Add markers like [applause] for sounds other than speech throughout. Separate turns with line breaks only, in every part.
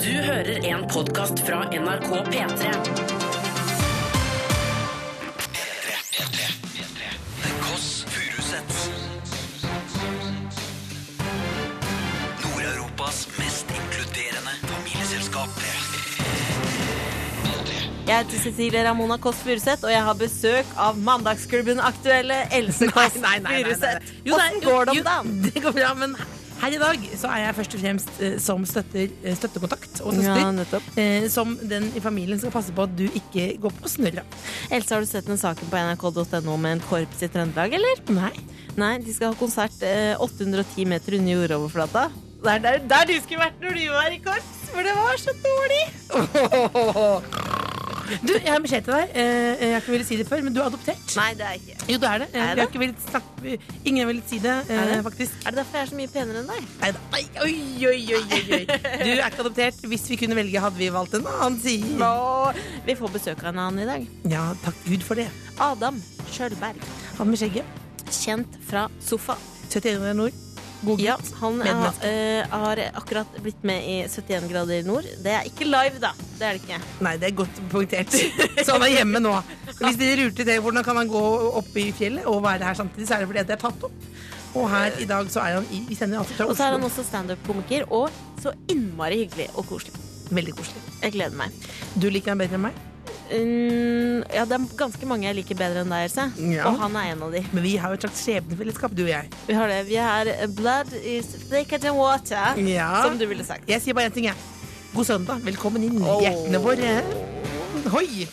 Du hører en podkast fra NRK P3.
The Koss Furusets Nord-Europas mest inkluderende familieselskap
Jeg heter Cecilie Ramona Kåss Furuseth, og jeg har besøk av Mandagsklubben Aktuelle, [laughs] Else Kåss Furuseth.
Jo, det er-
Hvordan går det
jo,
om dagen?
[laughs] Det går bra, men her i dag så er jeg først og fremst eh, som støtter, eh, støttekontakt og
Ja,
søster.
nettopp.
eh, som den i familien skal passe på at du ikke går på snørra.
Else, har du sett den saken på nrk.no med en korps i Trøndelag, eller?
Nei.
Nei, de skal ha konsert eh, 810 meter under jordoverflata. Det er der, der du skulle vært når du var i korps, for det var så dårlig!
Du, jeg har beskjed til deg. eh, Jeg har ikke villet si det før, men du er adoptert.
Nei, det er jeg ikke.
Jo, du er det. Eh,
Er jeg
Vi har
det?
ikke villet snakke. Ingen har villet si det, eh,
Er det?
faktisk.
Er det derfor jeg er så mye penere enn deg?
Nei da. Oi, oi, oi, oi, oi. Du er ikke adoptert. Hvis vi kunne velge, hadde vi valgt en annen side.
Vi får besøk av en annen i dag.
Ja, takk Gud for det.
Adam Sjølberg.
Han med skjegget.
Kjent fra Sofa.
71 år nord. God gutt.
Ja, han er,
Medmenneske.
eh, har akkurat blitt med i 71 grader nord. Det er ikke live, da. Det er det ikke.
Nei, det er godt poengtert. [laughs] Så han er hjemme nå. Hvis dere lurer til det, hvordan kan han gå opp i fjellet og være her samtidig, så er det fordi at det er tatt opp. Og her i dag så er han i Vi sender altså fra
Og så er han
Oslo.
også standup-komiker, og så innmari hyggelig og koselig.
Veldig koselig.
Jeg gleder meg.
Du liker han bedre enn meg,
Mm, ja, det er ganske mange jeg liker bedre enn deg, Else.
Ja.
Og han er en av de.
men vi har jo et slags skjebnefellesskap, du og jeg.
Vi har det. Vi er blood is thicker than water,
Ja.
som du ville sagt.
Jeg sier bare én ting, jeg. God søndag. Velkommen inn i
Åh.
hjertene våre. Hoi!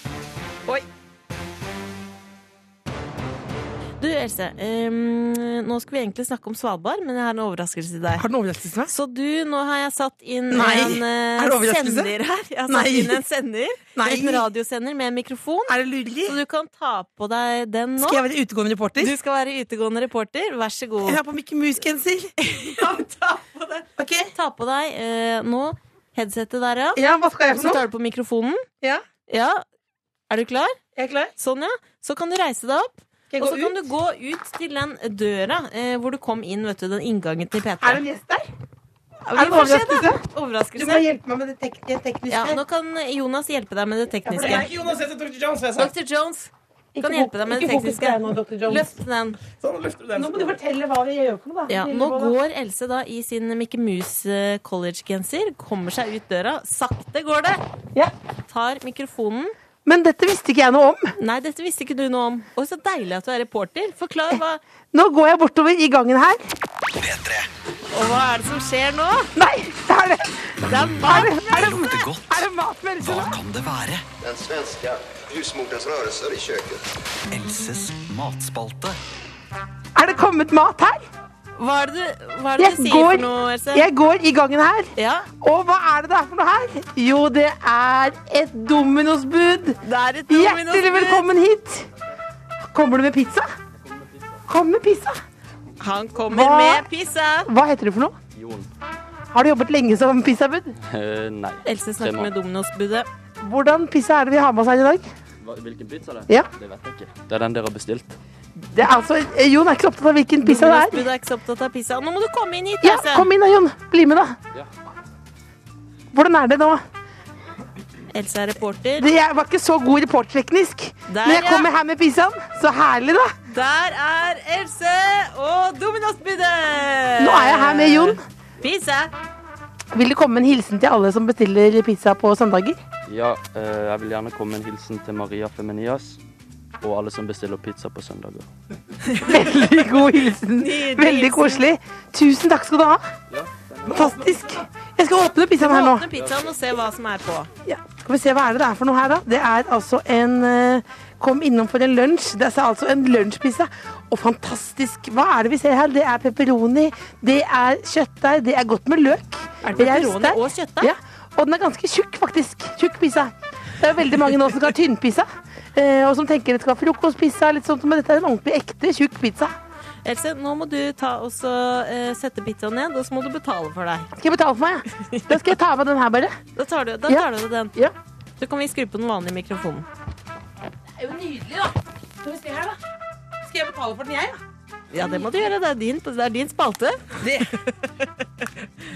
Du, Else, eh, nå skulle vi egentlig snakke om Svalbard, men jeg har en overraskelse til deg.
Har du en overraskelse til meg?
Så du, nå har jeg satt inn
Nei.
en eh,
Er det overraskelse?
sender her. Jeg har satt
Nei.
inn en sender.
Nei.
En radiosender med en mikrofon.
Er det lureri?
Så du kan ta på deg den nå.
Skal jeg være utegående reporter?
Du skal være utegående reporter. Vær så god.
Jeg har på Mikke
[laughs]
Mus-genser.
ta på deg,
Ok.
ta på deg eh, nå headsetet der, ja.
Ja, hva skal jeg sånn.
Så
for noe?
tar du på mikrofonen.
Ja,
Ja. Er du klar?
jeg er klar.
Sånn, ja. Så kan du reise deg opp.
Skal jeg
Og
gå
så kan
ut?
du gå ut til den døra eh, hvor du kom inn, vet du. Den inngangen til P3.
Er det en gjest der?
Vi
det en
får se, da.
overraskelse? Du må
Overraskelse.
hjelpe meg med det tek det tekniske.
Ja, nå kan Jonas hjelpe deg med det tekniske.
Nei, Jonas heter Dr. Jones, jeg sa.
Dr. Jones, kan
Ikke fok-
hjelpe deg med det
ikke fokus på
tekniske.
deg Nå, Dr. Jones.
løft den.
Sånn, løfter du den.
nå må du fortelle hva vi gjør for noe, da.
Ja,
Lille
nå
Båla.
går Else da i sin Mickey Mouse eh, college-genser, kommer seg ut døra. Sakte går det!
Ja.
Tar mikrofonen.
Men dette visste ikke jeg noe om.
Nei, dette visste ikke du noe om. Og så deilig at du er reporter. Forklar hva
Nå går jeg bortover i gangen her.
P3
Og hva er det som skjer nå?
Nei, er det,
Det er mat!
Lukter godt
er det mat med Else
Hva
nå?
kan det være?
Den svenska husmorens rörelser i köket.
Elses matspalte
Er det kommet mat her?
Hva er det du, hva er det
Jeg
du sier
går-
for noe, Else?
Jeg går i gangen her.
Ja,
Og hva er det det er for noe her? Jo, det er et dominosbud.
det er et
Hjertelig
dominosbud.
velkommen hit. Kommer du med pizza? Kom med pizza.
Han kommer
Hva?
med pizza.
Hva heter du for noe?
Jon.
Har du jobbet lenge som pizzabud?
Eh, nei.
Else snakker
Tema.
med dominosbudet.
Hvordan pizza er det vi har med oss her i dag?
Hva- Hvilken pizza det er?
Ja.
Det vet jeg ikke. Det er den dere har bestilt.
Det er altså, Jon er ikke så opptatt av hvilken pizza det er.
Dominosbudet er ikke så opptatt av pizza. Nå må du komme inn hit,
Ja,
Else.
kom inn da, Jon. Bli med, da.
Ja.
Hvordan er det nå?
Else er reporter.
Det, jeg var ikke så god reportteknisk.
Der,
Men jeg
ja.
kommer her med pizzaen. Så herlig, da.
Der er Else og Dominosbudet!
Nå er jeg her med Jon.
Pizza.
Vil det komme en hilsen til alle som bestiller pizza på
[laughs]
søndager?
Ja, eh, jeg vil gjerne komme med en hilsen til Maria Feminias og alle som bestiller pizza på søndager.
Veldig god hilsen.
Nydelig
Veldig
hilsen.
koselig. Tusen takk skal du ha. Fantastisk. Jeg skal åpne pizzaen her nå.
Åpne pizzaen og se hva som er på.
Ja. Skal vi se hva er det det er for noe her, da. Det er altså en eh, Kom innom for en lunsj. Det er altså en lunsjpizza. Og fantastisk. Hva er det vi ser her? Det er pepperoni, det er kjøttdeig, det er godt med løk.
Er det pepperoni
sterkt.
og kjøttdeig?
Ja. Og den er ganske tjukk, faktisk. Tjukk pizza. Det er jo veldig mange nå som skal ha tynnpizza. eh, Og som tenker det skal ha frokostpizza, litt sånt, men dette er en ordentlig ekte tjukk pizza.
Else, nå må du ta og så, eh, sette pizzaen ned, og så må du betale for deg.
Skal jeg betale for meg? Ja? Da skal jeg ta av meg den her, bare.
Da tar du, da
Ja.
tar du den.
Ja.
Så kan vi skru på den vanlige mikrofonen.
Skal jeg betale for den, jeg?
Ja, det må du gjøre. Det er din, det er din spalte.
Dette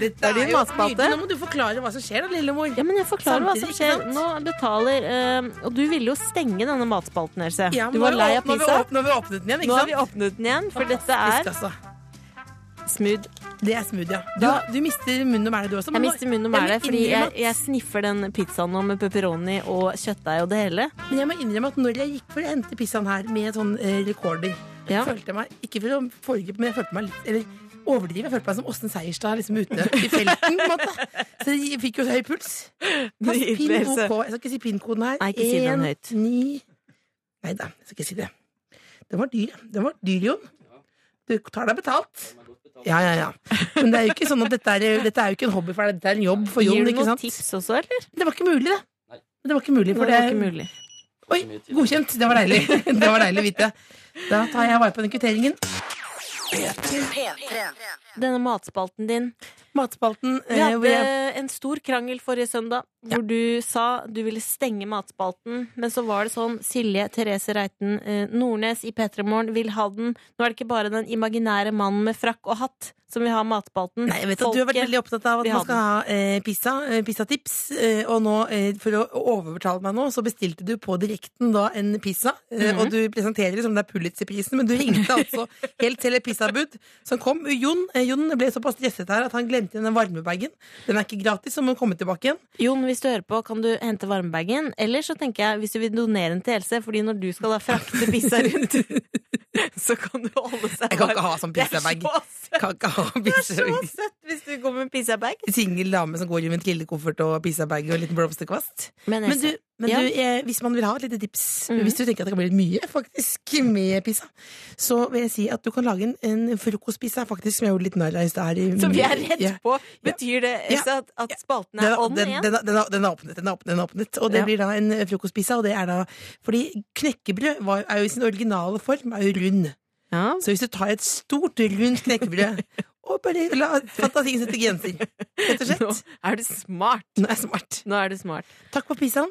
Det er din
jo
matspalte.
nydelig. Nå må du forklare hva som skjer da, lillemor.
Ja, men jeg forklarer hva som
Samtidig, ikke
skjer.
sant?
Nå betaler eh, Og du ville jo stenge denne matspalten, Else.
Ja,
du
men nå
var
har vi
lei av
åp- nå har vi
pizza.
åp- Nå har vi åpnet den igjen,
Nå har
ikke sant?
vi åpnet den igjen, for dette
Fantastisk,
er
altså.
smooth.
Det er smoothie, ja. Du,
Da-
du mister munnen og mæle, du også. men
Jeg
nå-
mister munnen og
Jeg må
mælet fordi jeg,
innrømme at-
jeg sniffer den pizzaen nå med pepperoni og kjøttdeig og det hele.
Men jeg må innrømme at når jeg gikk for å hente pizzaen her med sånn eh, recorder,
Ja.
følte jeg meg Ikke for å foregripe, men jeg følte meg litt Eller overdrive. Jeg følte meg som Åsten Seierstad liksom ute i felten, på en måte. Så jeg fikk jo så høy puls.
Det
Pass
gikk
pin
det,
OK.
Else.
Jeg skal ikke si pin-koden her.
Nei, ikke si den
En,
høyt.
Ni Nei da, jeg skal ikke si det. Den var dyr, ja. Den var dyr, Jon. Du tar deg betalt. Ja, ja, ja. Men det er jo ikke sånn at dette er, dette er jo ikke en hobby for deg, dette er en jobb for
Gir
Jon.
du
ikke
noen
sant?
tips også, eller?
Det var ikke mulig, det. Det var ikke mulig,
Det
for
var
det,
ikke mulig.
Oi, godkjent. Det var deilig. [laughs] Det var deilig å vite. Da tar jeg vare på den kvitteringen.
Denne matspalten din.
Matspalten.
Vi
eh, hvor
hadde
jeg,
en stor krangel forrige søndag hvor du sa du ville stenge matspalten, men så var det sånn Silje Therese Reiten eh, Nordnes i P3 Morgen vil ha den. Nå er det ikke bare den imaginære mannen med frakk og hatt som vil ha matspalten.
nei, jeg vet at du har vært
Folket-
veldig opptatt av at
vi
man
har
skal ha eh, pizza, eh, pizzatips, eh, og nå, eh, for å overbetale meg nå, så bestilte du på direkten da en pizza,
Mhm.
eh, og du presenterer det som det er Pulitzer-prisen, men du ringte
[laughs]
altså helt til et pizzabud som kom. Jon, eh, Jon ble såpass stresset her at han glemte igjen den varmebagen. Den er ikke gratis, så må komme tilbake igjen.
Jon, hvis du hører på, kan du hente varmebagen? Eller så tenker jeg, hvis du vil donere den til Else, fordi når du skal da frakte pizza
[laughs]
rundt, så kan du holde seg
Jeg kan ikke ha sånn pizzabag.
Det er så søtt.
Kan ikke ha
Det er så
pizzabag.
søtt hvis du kommer med pizzabag.
singel dame som går rundt med en trillekoffert og pizzabag og en liten blomsterkvast.
Men
Men, du,
Else,
men
Ja. Mhm.
du, eh, hvis man vil ha et lite tips, hvis du tenker at det kan bli litt mye faktisk med pizza, så vil jeg si at du kan lage en, en frokostpizza faktisk, som jeg gjorde litt narr av i stad. her i-
som vi er redd
Ja.
på, betyr det
Ja.
Else, at, at spalten
Den
er
er,
on
den,
igjen?
den, er- den, er, den er åpnet, den er åpnet, den er åpnet. Og det
Ja.
blir da en frokostpizza, og det er da Fordi knekkebrød var, er jo i sin originale form er jo rund.
Ja.
Så hvis du tar et stort, rundt
[laughs]
knekkebrød og bare la fantasien sette grenser, rett og
Nå
slett
er du smart.
Nå er jeg smart.
Nå er du smart.
Takk for pizzaen.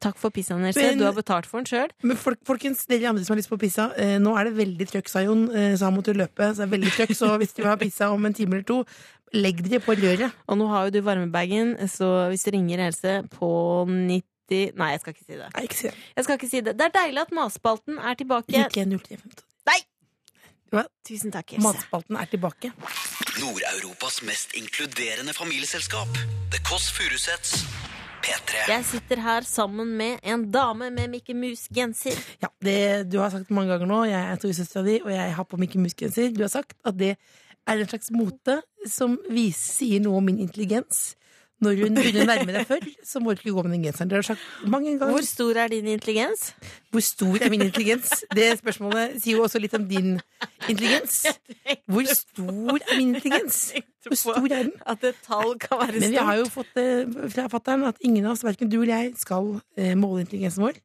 Takk for pizzaen, Else.
Men-
Du har betalt for den sjøl.
Men folk, folkens, dere andre som har lyst på pizza, eh, nå er det veldig trøkk, sa Jon. Eh, så han måtte jo løpe. Så det er veldig trøkk, [laughs] så hvis dere vil ha pizza om en time eller to, legg dere på røret.
Og nå har jo du varmebagen, så hvis du ringer Else på 90 Nei, jeg skal ikke si det.
Nei, ikke si det.
Jeg skal ikke si Det Det er deilig at matspalten er tilbake.
Ikke 0315.
Tusen takk,
Matspalten er tilbake.
Nord-Europas mest inkluderende familieselskap. The Kåss Furuseths. P3.
Jeg sitter her sammen med en dame med Mikke Mus-genser.
Ja, det du har sagt mange ganger nå, jeg er storesøstera di, og jeg har på Mikke Mus-genser. Du har sagt at det er en slags mote som viser, sier noe om min intelligens. Når hun begynner å nærme deg før, så må du ikke gå med den genseren. Det har du sagt mange ganger.
Hvor stor er din intelligens?
Hvor stor er min intelligens? Det spørsmålet sier jo også litt om din intelligens. Hvor stor er min intelligens? Hvor stor er den?
At et tall kan være
Men vi har
stort.
jo fått eh, fra fattern at ingen av oss, verken du eller jeg, skal eh, måle intelligensen vår.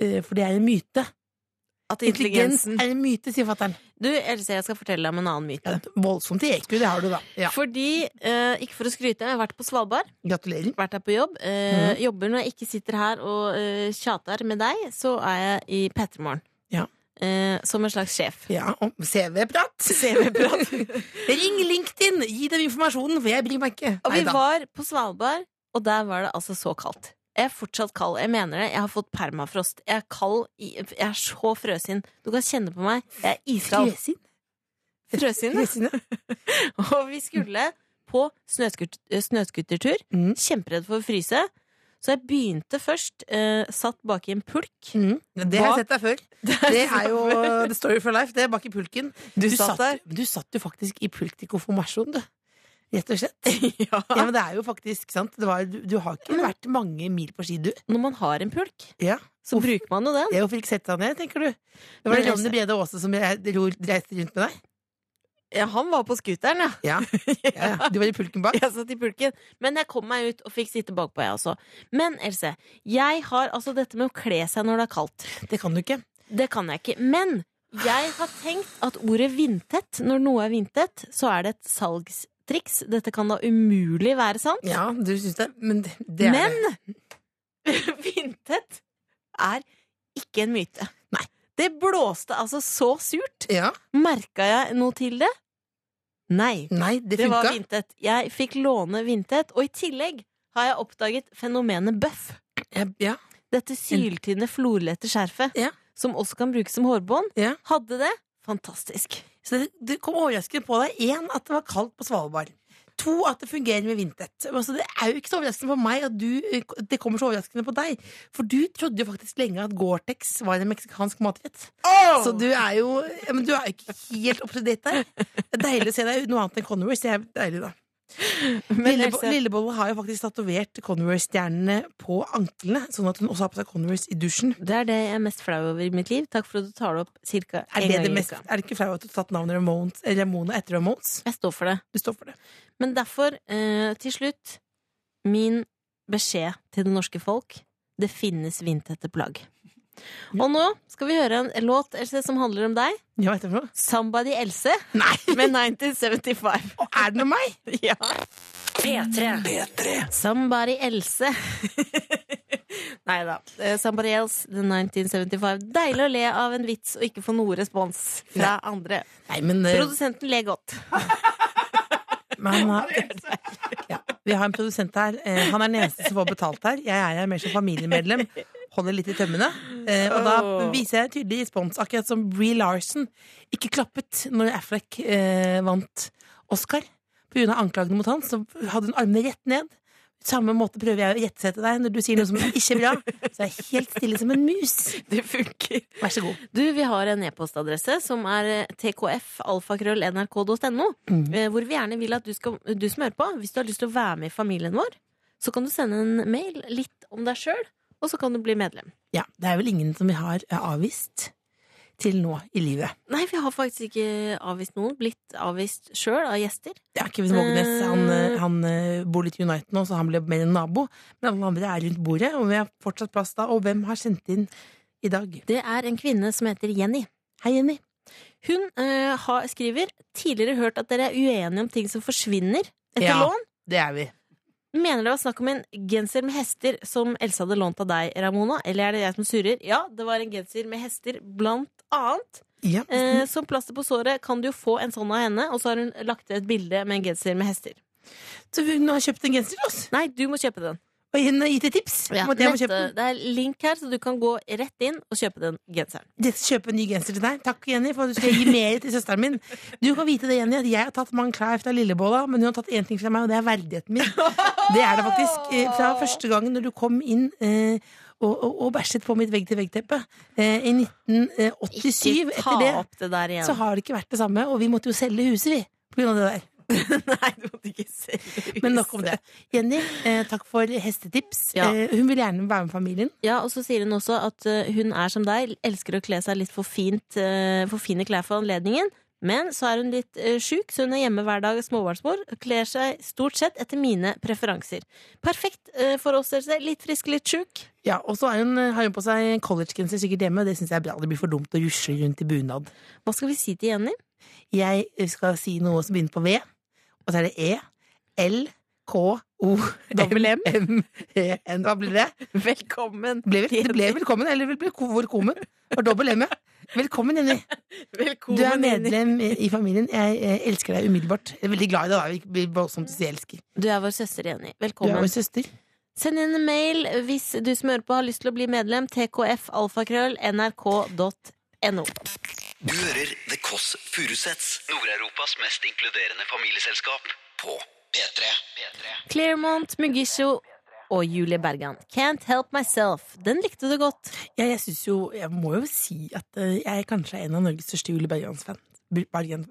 Eh, For det er en myte.
At
Intelligens
intelligensen
er en myte, sier fattern.
Du, Else, jeg skal fortelle deg om en annen myte.
Ja, voldsomt i EQ, det har du, da. Ja.
Fordi, eh, ikke for å skryte, men jeg har vært på Svalbard.
Gratulerer.
Vært her på jobb. eh, Jobber når jeg ikke sitter her og eh, tjater med deg, så er jeg i Petremorgen.
Ja.
Eh, som en slags sjef.
Ja, og CV-prat. [laughs] Ring LinkedIn! Gi dem informasjonen, for jeg bryr meg ikke.
Og vi
Neida.
var på Svalbard, og der var det altså så kaldt. Jeg er fortsatt kald. Jeg mener det. Jeg har fått permafrost. Jeg er kald. i- Jeg er så frøsin. Du kan kjenne på meg. Jeg er iskald.
[laughs] Fresin.
Frøsin, ja.
Fresin, ja.
[laughs] Og vi skulle på snøskut eh, snøskutertur.
Mm.
Kjemperedd for å fryse. Så jeg begynte først, eh, satt bak i en pulk. [laughs]
Mm. Det har jeg sett deg før. [laughs] Det
jeg
er jo the story for life. Det er bak i pulken.
Du satt der.
Du satt jo faktisk i pulk til konfirmasjon, du. Rett og slett.
[laughs] ja.
Ja, men det er jo faktisk sant. Det var, du, du har ikke vært mange mil på ski, du.
Når man har en pulk,
Ja.
så bruker man jo den.
Det er jo fikk sett deg ned, tenker du. Det var
Men
det Ronny
Else-
Brede Aase som jeg dro- reiste rundt med deg.
Ja, han var på scooteren, ja.
Ja. ja, ja. [laughs] Du var i pulken
[laughs]
bak.
Jeg satt i pulken, men jeg kom meg ut og fikk sitte bakpå, jeg også. Men Else, jeg har altså dette med å kle seg når det er kaldt.
Det kan du ikke.
Det kan jeg ikke. Men jeg har tenkt at ordet vindtett, når noe er vindtett, så er det et salgstriks. Dette kan da umulig være sant.
Ja, du syns det. Men det, det er
men
det.
[laughs] vindtett er ikke en myte.
Nei.
Det blåste altså så surt.
Ja.
Merka jeg noe til det? Nei.
Nei, det
Det var
funka.
Vintet. Jeg fikk låne Vintet, og i tillegg har jeg oppdaget fenomenet bøff.
Jeg- Ja.
Dette syltynne, florlette skjerfet,
Ja.
som også kan brukes som hårbånd.
Ja.
Hadde det. Fantastisk.
Så det, det kom overraskende på deg. Én, at det var kaldt på Svalbard. To, at det fungerer med vindtett. Altså, det er jo ikke så overraskende for meg at du, det kommer så overraskende på deg. For du trodde jo faktisk lenge at Gore-Tex var en meksikansk matrett. Så du er jo ja, men du er jo ikke helt opp til date der. Det er deilig å se deg i noe annet enn Converse. Det er deilig, da.
jeg
Lillebo-
ser-
Lillebolla har jo faktisk tatovert Converse-stjernene på anklene, sånn at hun også har på seg Converse i dusjen.
Det er det jeg er mest flau over i mitt liv. Takk for at du tar det opp cirka en
Er det,
gang
det
i
mest,
uka.
er det ikke flaut at du har tatt navnet Ramones- Ramona etter Ramones?
Jeg står for det.
Du står for det.
Men derfor, eh, til slutt, min beskjed til det norske folk Det finnes vindtette plagg. Og nå skal vi høre en låt Else, som handler om deg.
Ja, hva heter det for noe?
Somebody Else med 1975.
Er det noe meg?
Ja.
P3.
Somebody [laughs] Else. Nei da. Eh, Somebody Else, the 1975. Deilig å le av en vits og ikke få noe respons fra andre.
Nei, men eh,
Produsenten ler
[laughs]
godt.
men han [laughs] har, ja, Vi har en produsent her. eh, Han er den eneste som får betalt her. Jeg er her mer som familiemedlem. Holder litt i tømmene. Eh, Og da viser jeg tydelig respons, akkurat som Bree Larson ikke klappet når Affleck eh, vant Oscar. På grunn av anklagene mot han, så hadde hun armene rett ned. Samme måte prøver jeg å irettesette deg når du sier noe som ikke er bra. Så er jeg helt stille som en mus.
Det funker.
Vær så god.
Du, vi har en e-postadresse som er eh, tkfalfakrøllnrk.no,
Mm.
eh, hvor vi gjerne vil at du, skal, du som hører på, hvis du har lyst til å være med i familien vår, så kan du sende en mail litt om deg sjøl, og så kan du bli medlem.
Ja, det er vel ingen som vi har eh, avvist til nå i livet.
Nei, vi har faktisk ikke avvist noen. Blitt avvist sjøl av gjester.
Ja, Kevin Vågenes han, eh,
Eh.
han eh, bor litt i United nå, så han ble mer en nabo. Men alle andre er rundt bordet, og vi har fortsatt plass da. Og hvem har sendt inn i dag?
Det er en kvinne som heter Jenny.
Hei, Jenny.
Hun eh, har, skriver tidligere hørt at dere er uenige om ting som forsvinner etter
Ja.
lån.
Det er vi.
Mener det var snakk om en genser med hester som Elsa hadde lånt av deg, Ramona? Eller er det jeg som surrer? Ja, det var en genser med hester, blant annet.
Ja.
Eh, som plaster på såret kan du jo få en sånn av henne, og så har hun lagt til et bilde med en genser med hester.
Så hun har kjøpt en genser til oss,
Nei, du må kjøpe den.
og hun har gitt et tips om at jeg må
Nette,
kjøpe, den.
det er link her, så du kan gå rett inn og kjøpe den genseren.
Jeg skal kjøpe en ny genser til deg. Takk, Jenny, for at du skal gi mer til søsteren min. Du kan vite det, Jenny, at jeg har tatt mange klær fra Lillebolla, men hun har tatt én ting fra meg, og det er verdigheten min. Det er det faktisk. Eh, Fra første gangen når du kom inn eh, og, og, og bæsjet på mitt vegg-til-vegg-teppe eh, i 1987.
Ikke
Etter
ta
det
opp det der igjen.
så har det ikke vært det samme, og vi måtte jo selge huset, vi. På grunn av det der.
[laughs] Nei, du måtte ikke se
[laughs] Men nok om det. Jenny, eh, takk for hestetips.
Ja.
Eh, hun vil gjerne være med familien.
Ja, og så sier hun også at eh, hun er som deg, elsker å kle seg litt for fint, eh, for fine klær for anledningen. Men så er hun litt uh, sjuk, så hun er hjemme hver dag småbarnsmor. og Kler seg stort sett etter mine preferanser. Perfekt eh, for oss, dere. Litt frisk, litt sjuk.
Ja, Og så er hun, eh, har hun på seg collegegenser sikkert hjemme, og det syns jeg er bra. Det blir for dumt å rusle rundt i bunad.
Hva skal vi si til Jenny?
Jeg eh, skal si noe som begynner på V, og så er det E. L, K, O,
Dobbel M.
M, E, N. Hva blir det?
Velkommen.
Ble vel, det ble velkommen, eller det ble hvor komen? Det var dobbel M, ja. Velkommen, Jenny. Du er medlem i familien. Jeg eh, elsker deg umiddelbart. Jeg er veldig glad i deg, da. Jeg blir voldsomt å si jeg elsker.
Du er vår søster, Jenny.
Du er
Velkommen.
vår søster.
Send inn en mail hvis du som hører på har lyst til å bli medlem. tkfalfakrøll.nrk.no.
Du hører The Kåss Furuseths, Nord-Europas mest inkluderende familieselskap, på P3.
Clearmont, Mugisho og Julie Bergan. Can't Help Myself. Den likte du godt.
Ja, jeg synes jo Jeg må jo si at eh, jeg kanskje er en av Norges største Julie Bergans-fan. Bergen.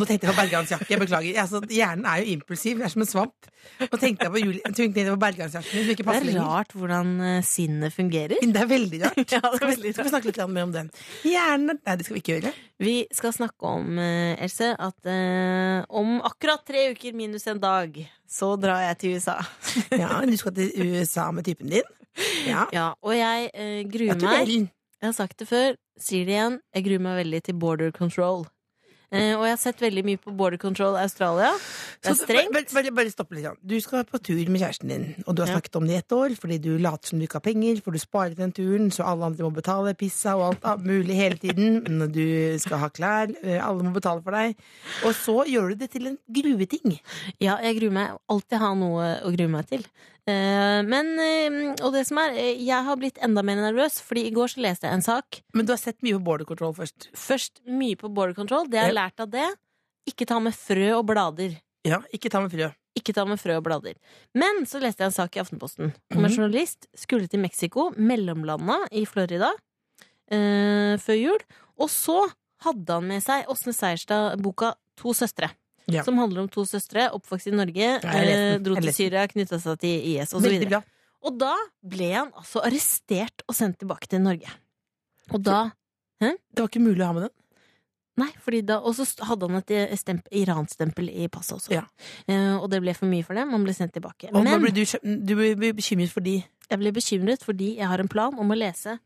Nå tenkte jeg på bergansjakke. Jeg beklager. Jeg, altså, hjernen er jo impulsiv. Jeg er som en svamp. Nå tenkte jeg på, Julie, jeg tenkte jeg på bergansjakken min, som ikke
Det
passer
er
lenger.
rart hvordan eh, sinnet fungerer.
Det er veldig rart.
[laughs] Ja, det er
skal, vi,
veldig
skal vi snakke litt mer om den? Hjernen Nei, det skal vi ikke gjøre.
Vi skal snakke om, eh, Else, at eh, om akkurat tre uker minus en dag, så drar jeg til USA.
Ja, Du skal til USA med typen din. Ja.
Ja, og jeg eh, gruer meg.
Gratulerer.
Jeg har sagt det før, sier det igjen. Jeg gruer meg veldig til border control. Eh, Og jeg har sett veldig mye på Border Control Australia. Det
Så
er strengt.
Bare, bare, bare stopp litt. grann. Du skal på tur med kjæresten din, og du har
Ja.
snakket om det i ett år fordi du later som du ikke har penger, for du sparer den turen, så alle andre må betale pissa og alt annet mulig hele tiden. [laughs] Når du skal ha klær, eh, alle må betale for deg. Og så gjør du det til en grueting.
Ja, jeg gruer meg. Jeg vil Alltid ha noe å grue meg til. Eh, Men, eh, og det som er, eh, jeg har blitt enda mer nervøs, fordi i går så leste jeg en sak.
Men du har sett mye på border control først.
Først mye på border control. Det jeg har
Ja.
lært av det, ikke ta med frø og blader.
Ja, ikke ta med frø.
Ikke ta med frø og blader. Men så leste jeg en sak i Aftenposten om en
Mhm.
journalist skulle til Mexico, mellomlanda i Florida, eh, før jul. Og så hadde han med seg Åsne Seierstad-boka To søstre.
Ja.
Som handler om to søstre, oppvokst i Norge,
Ja, jeg leste
eh,
den.
dro
Jeg
til
leste den.
Syria, knytta seg til IS osv.
Veldig bra.
Og da ble han altså arrestert og sendt tilbake til Norge. Og da
Det var ikke mulig å ha med den.
Nei, fordi da, og så st- hadde han et eh, stemp, Iran-stempel i passet også.
Ja.
Eh, og det ble for mye for dem, han ble sendt tilbake.
Og nå
Men
ble du, kjø- du ble bekymret for de.
jeg ble bekymret fordi jeg har en plan om å lese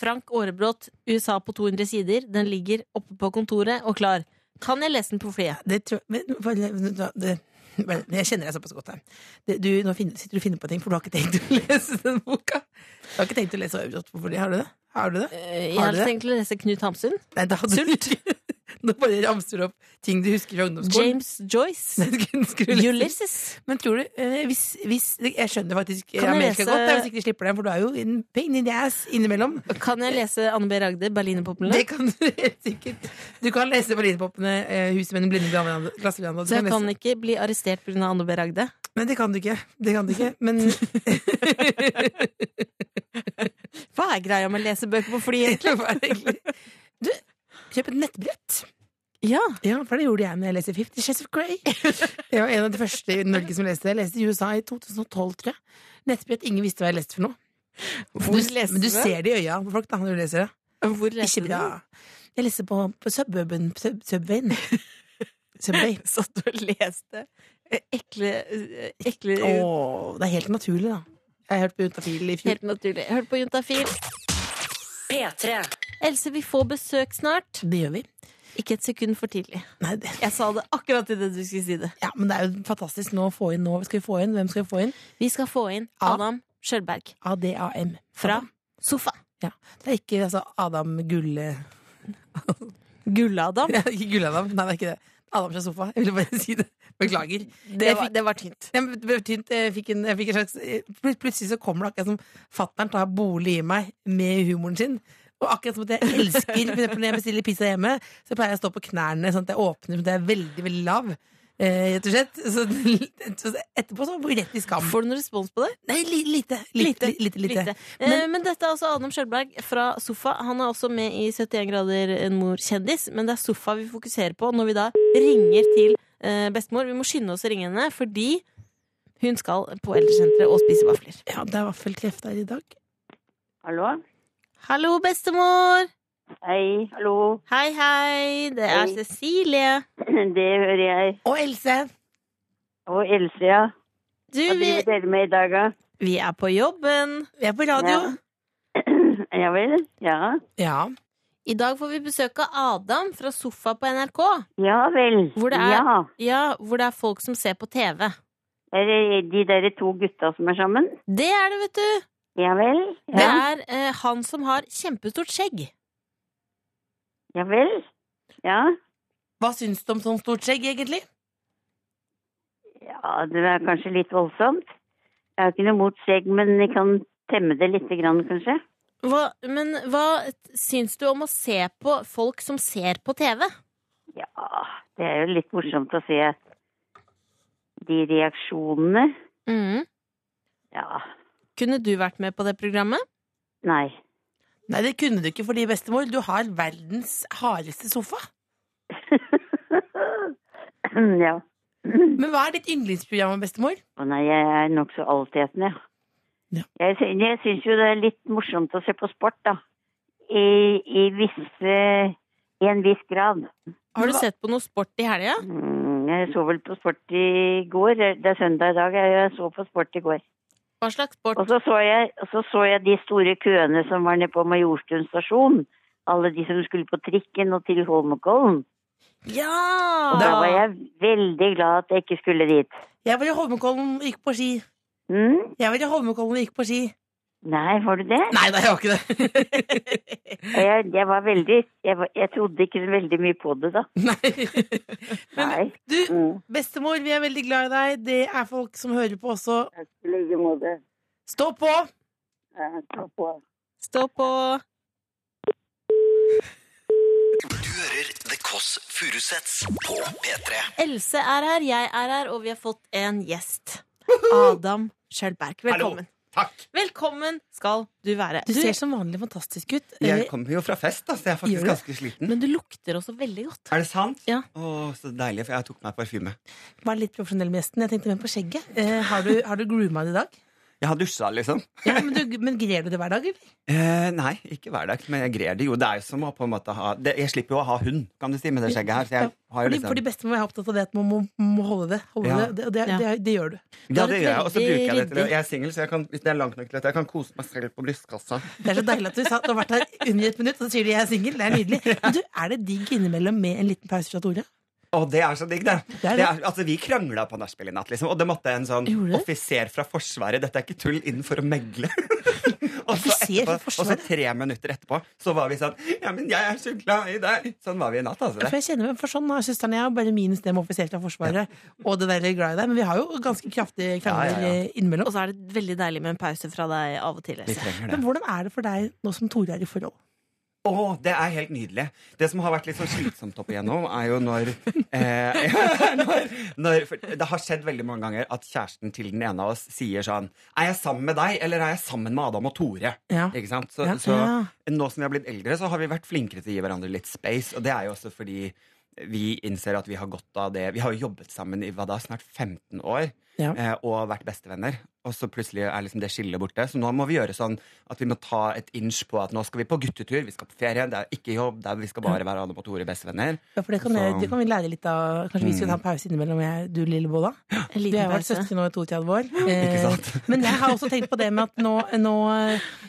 Frank Aarebrot, USA på 200 sider. Den ligger oppe på kontoret og klar. Kan jeg lese den på flyet?
det tror, men, men- det, men jeg kjenner deg såpass godt her. Det, du, nå finner, sitter du og finner på ting, for du har ikke tenkt å lese den boka. Du har ikke tenkt å lese Øvrigt fordi Har du det? Har du det?
Jeg
Har
har
du det?
tenkt å lese Knut Hamsun.
Nei, da hadde du ikke. [laughs] Nå bare ramser du opp ting du husker fra [laughs] ungdomsskolen.
James Joyce.
Den kunne- skulle du lese.
Ulysses.
Men tror du eh, hvis, hvis Jeg skjønner faktisk
Kan jeg
Amerika
lese-
godt, da, hvis ikke de slipper deg, for du er jo en pain in the ass innimellom.
Kan jeg lese Anne B. Ragde, Berlinerpoplene?
Det kan du [laughs] helt sikkert. Du kan lese Berlinerpoppene, eh, Huset mellom blinde glassveranda. glassveranda, du
Så jeg
lese-
kan ikke bli arrestert pga. Anne B. Ragde?
Men det kan du ikke. Det kan du ikke. Men
[laughs] Hva er greia med å lese bøker på fly,
[laughs]
egentlig?
Hva er det egentlig? Du, kjøp et nettbrett.
Ja.
Ja, for det gjorde jeg når jeg leste Fifty Shades of
[laughs]
Grey. Jeg var en av de første i Norge som leste det. Jeg leste i USA i 2012, tror jeg. Nettbrett. Ingen visste hva jeg leste for noe.
Hvor
du,
leste
men du
du det?
ser det i øya på folk da, når du leser
[laughs]
det.
Hvor
Ikke bra. Jeg leste på, på Suburban sub, Subwayen.
[laughs]
Subway.
Satt du og leste eh, ekle, eh, ekle
Å, det er helt naturlig, da. Jeg har hørt på Juntafil i fjor.
Helt naturlig. Hørte på Juntafil.
P3.
Else, vi får besøk snart.
Det gjør vi.
Ikke et sekund for tidlig.
Nei, det,
Jeg sa det akkurat idet du skulle si det.
ja, men det er jo fantastisk nå å få inn nå. Skal vi få inn? Hvem skal vi få inn?
Vi skal få inn
Ja.
Adam Sjølberg
ADAM.
fra Sofa.
Ja. Det er ikke altså, Adam Gulle... [laughs]
Gull-Adam.
Ja, ikke Gull-Adam. Nei, det er ikke det. Adam fra sofa. Jeg ville bare si det. Beklager.
Det,
Jeg
var-
fikk-
det var tynt.
Ja, men det ble tynt. Jeg fikk en, jeg fikk en slags plut- Plutselig så kommer det akkurat som fattern tar bolig i meg med humoren sin. Og akkurat som at jeg elsker for eksempel Når jeg bestiller pizza hjemme, så pleier jeg å stå på knærne sånn at jeg åpner, for jeg er veldig, veldig lav. Eh, rett og slett. Så, så etterpå så var jeg rett i skam.
Får du noen respons på det?
Nei, li, lite. Lite, li, lite, lite.
Lite. Eh, Men, dette er altså Adam Sjølberg fra Sofa. Han er også med i 71 grader en mor kjendis, men det er Sofa vi fokuserer på når vi da ringer til eh, bestemor. Vi må skynde oss å ringe henne fordi hun skal på eldresenteret og spise vafler.
Ja, det er vaffeltreff der i dag.
Hallo?
Hallo, bestemor!
Hei, hallo. [clears throat]
Hei, hei! Det er
Hei.
Cecilie.
Det hører jeg.
Og Else!
Og Else, ja.
Du,
Hva
vi,
driver dere med i dag, da? [clears throat]
vi er på jobben.
Vi er på radio.
Ja vel? Ja.
Ja.
I dag får vi besøk av Adam fra Sofa på NRK.
Ja vel.
Hvor det er-
Ja.
Ja, hvor det er folk som ser på TV.
Er det de der to gutta som er sammen?
Det er det, vet du!
Ja vel?
Det
Ja,
er eh, han som har kjempestort skjegg.
ja vel? Ja.
Hva syns du om sånn stort skjegg, egentlig?
ja, det er kanskje litt voldsomt. Jeg har ikke noe mot skjegg, men jeg kan temme det lite grann, kanskje.
Hva, men hva syns du om å se på folk som ser på TV?
Ja, det er jo litt morsomt å se de reaksjonene. Ja.
Kunne du Mm. vært med på det programmet?
Nei. [laughs]
Nei, det kunne du ikke fordi, bestemor, du har verdens hardeste sofa.
ja.
Men hva er ditt yndlingsprogram, bestemor?
Å nei, jeg er nokså altetende,
Ja.
ja. Jeg, sy- jeg syns jo det er litt morsomt å se på sport, da. I, i visse I en viss grad.
Har du
Hva-
sett på noe sport i helga?
Mm, Jeg så vel på sport i går. Det er søndag i dag. Jeg jeg så på sport i går.
Hva slags sport?
Og så så jeg, og så så jeg de store køene som var nede på Majorstuen stasjon. Alle de som skulle på trikken og til Holmenkollen.
Ja!
Ah.
Og da var jeg veldig glad at jeg ikke skulle dit.
Jeg var i Holmenkollen og gikk på ski.
Mm?
Jeg var i Holmenkollen og gikk på ski.
Nei, var du det?
Nei, nei, jeg var ikke det. [laughs]
Og jeg, jeg var veldig jeg, var, jeg trodde ikke så veldig mye på det, da.
nei. Men
Nei.
du,
Mm.
bestemor, vi er veldig glad i deg. Det er folk som hører på også.
I like måte.
Stå på!
Stå på.
Du hører The Kåss Furuseths på P3.
Else er her, jeg er her, og vi har fått en gjest. Adam Schjølberg. Velkommen.
Takk.
Velkommen skal du være.
Du ser som vanlig fantastisk ut. Eh,
Jeg kommer jo fra fest, da, så jeg er
Gjør
faktisk
du?
ganske sliten.
men du lukter også veldig godt.
Er det sant?
Ja.
Å, så deilig, for jeg tok meg parfyme.
Vær litt profesjonell med gjesten. Jeg tenkte hvem på skjegget? Eh, har du, har du grooma det i dag?
Jeg har dusja, liksom.
Ja, men, du, men grer du det hver dag, eller?
Eh, nei, ikke hver dag, men jeg grer det jo. Det er jo som å på en måte ha det, Jeg slipper jo å ha hund, kan du si, med det skjegget her. Så jeg har jo
Fordi,
liksom
fordi bestemor er opptatt av det at man må, må holde det. Holde
Ja.
det, og det,
Ja.
det, det gjør du.
Ja, det
du
gjør jeg. Og så
veldig
bruker jeg det til å
ryddig.
Jeg er singel, så jeg kan, hvis det er langt nok til at jeg kan kose meg selv på brystkassa.
Det er så deilig at du, sa, du har vært her under et minutt, og så sier du 'jeg er singel'. Det er nydelig. Men du, er det digg innimellom med en liten pause fra Tore?
Og det er så digg, det.
Det er
Det
det.
er, altså, vi krangla på nachspiel i natt, liksom. Og det måtte en sånn
Gjorde du?
offiser fra Forsvaret Dette er ikke tull inn for å
[laughs]
megle. og, så
Offiser fra
etterpå, og så
Forsvaret?
tre minutter etterpå så var vi sånn Ja, men jeg er så glad i deg. Sånn var vi i natt, altså.
For
Det.
jeg kjenner meg, for sånn har søsteren og jeg, og bare minus det med offisielt av Forsvaret og det der glad i deg. Men vi har jo ganske kraftige krangler
Ja, ja, ja.
eh, innimellom.
Og så er det veldig deilig med en pause fra deg av og til.
Vi
Else.
trenger det.
Men hvordan er det for deg nå som Tore er i forhold?
Å, det er helt nydelig. Det som har vært litt sånn slitsomt opp igjennom, er jo når, eh, [laughs] når, når for Det har skjedd veldig mange ganger at kjæresten til den ene av oss sier sånn Er jeg sammen med deg, eller er jeg sammen med Adam og Tore?
Ja.
Ikke sant? Så,
Ja,
så
ja.
nå som vi har blitt eldre, så har vi vært flinkere til å gi hverandre litt space, og det er jo også fordi vi innser at vi har godt av det. Vi har jo jobbet sammen i hva da, snart 15 år
Ja.
eh, og vært bestevenner. Og så plutselig er liksom det skillet borte. Så nå må vi gjøre sånn at vi må ta et inch på at nå skal vi på guttetur, vi skal på ferie, det er ikke jobb, det er, vi skal bare være Adam og Tore bestevenner.
Ja, for det kan, jeg,
Så-
det kan vi lære litt av. Kanskje vi skal ta en pause innimellom, jeg, du lille Bolla?
En
Du
liten
har vært
pause.
søster nå i 32 år.
[laughs]
Eh,
Ikke sant?
[laughs] men jeg har også tenkt på det med at nå, nå eh,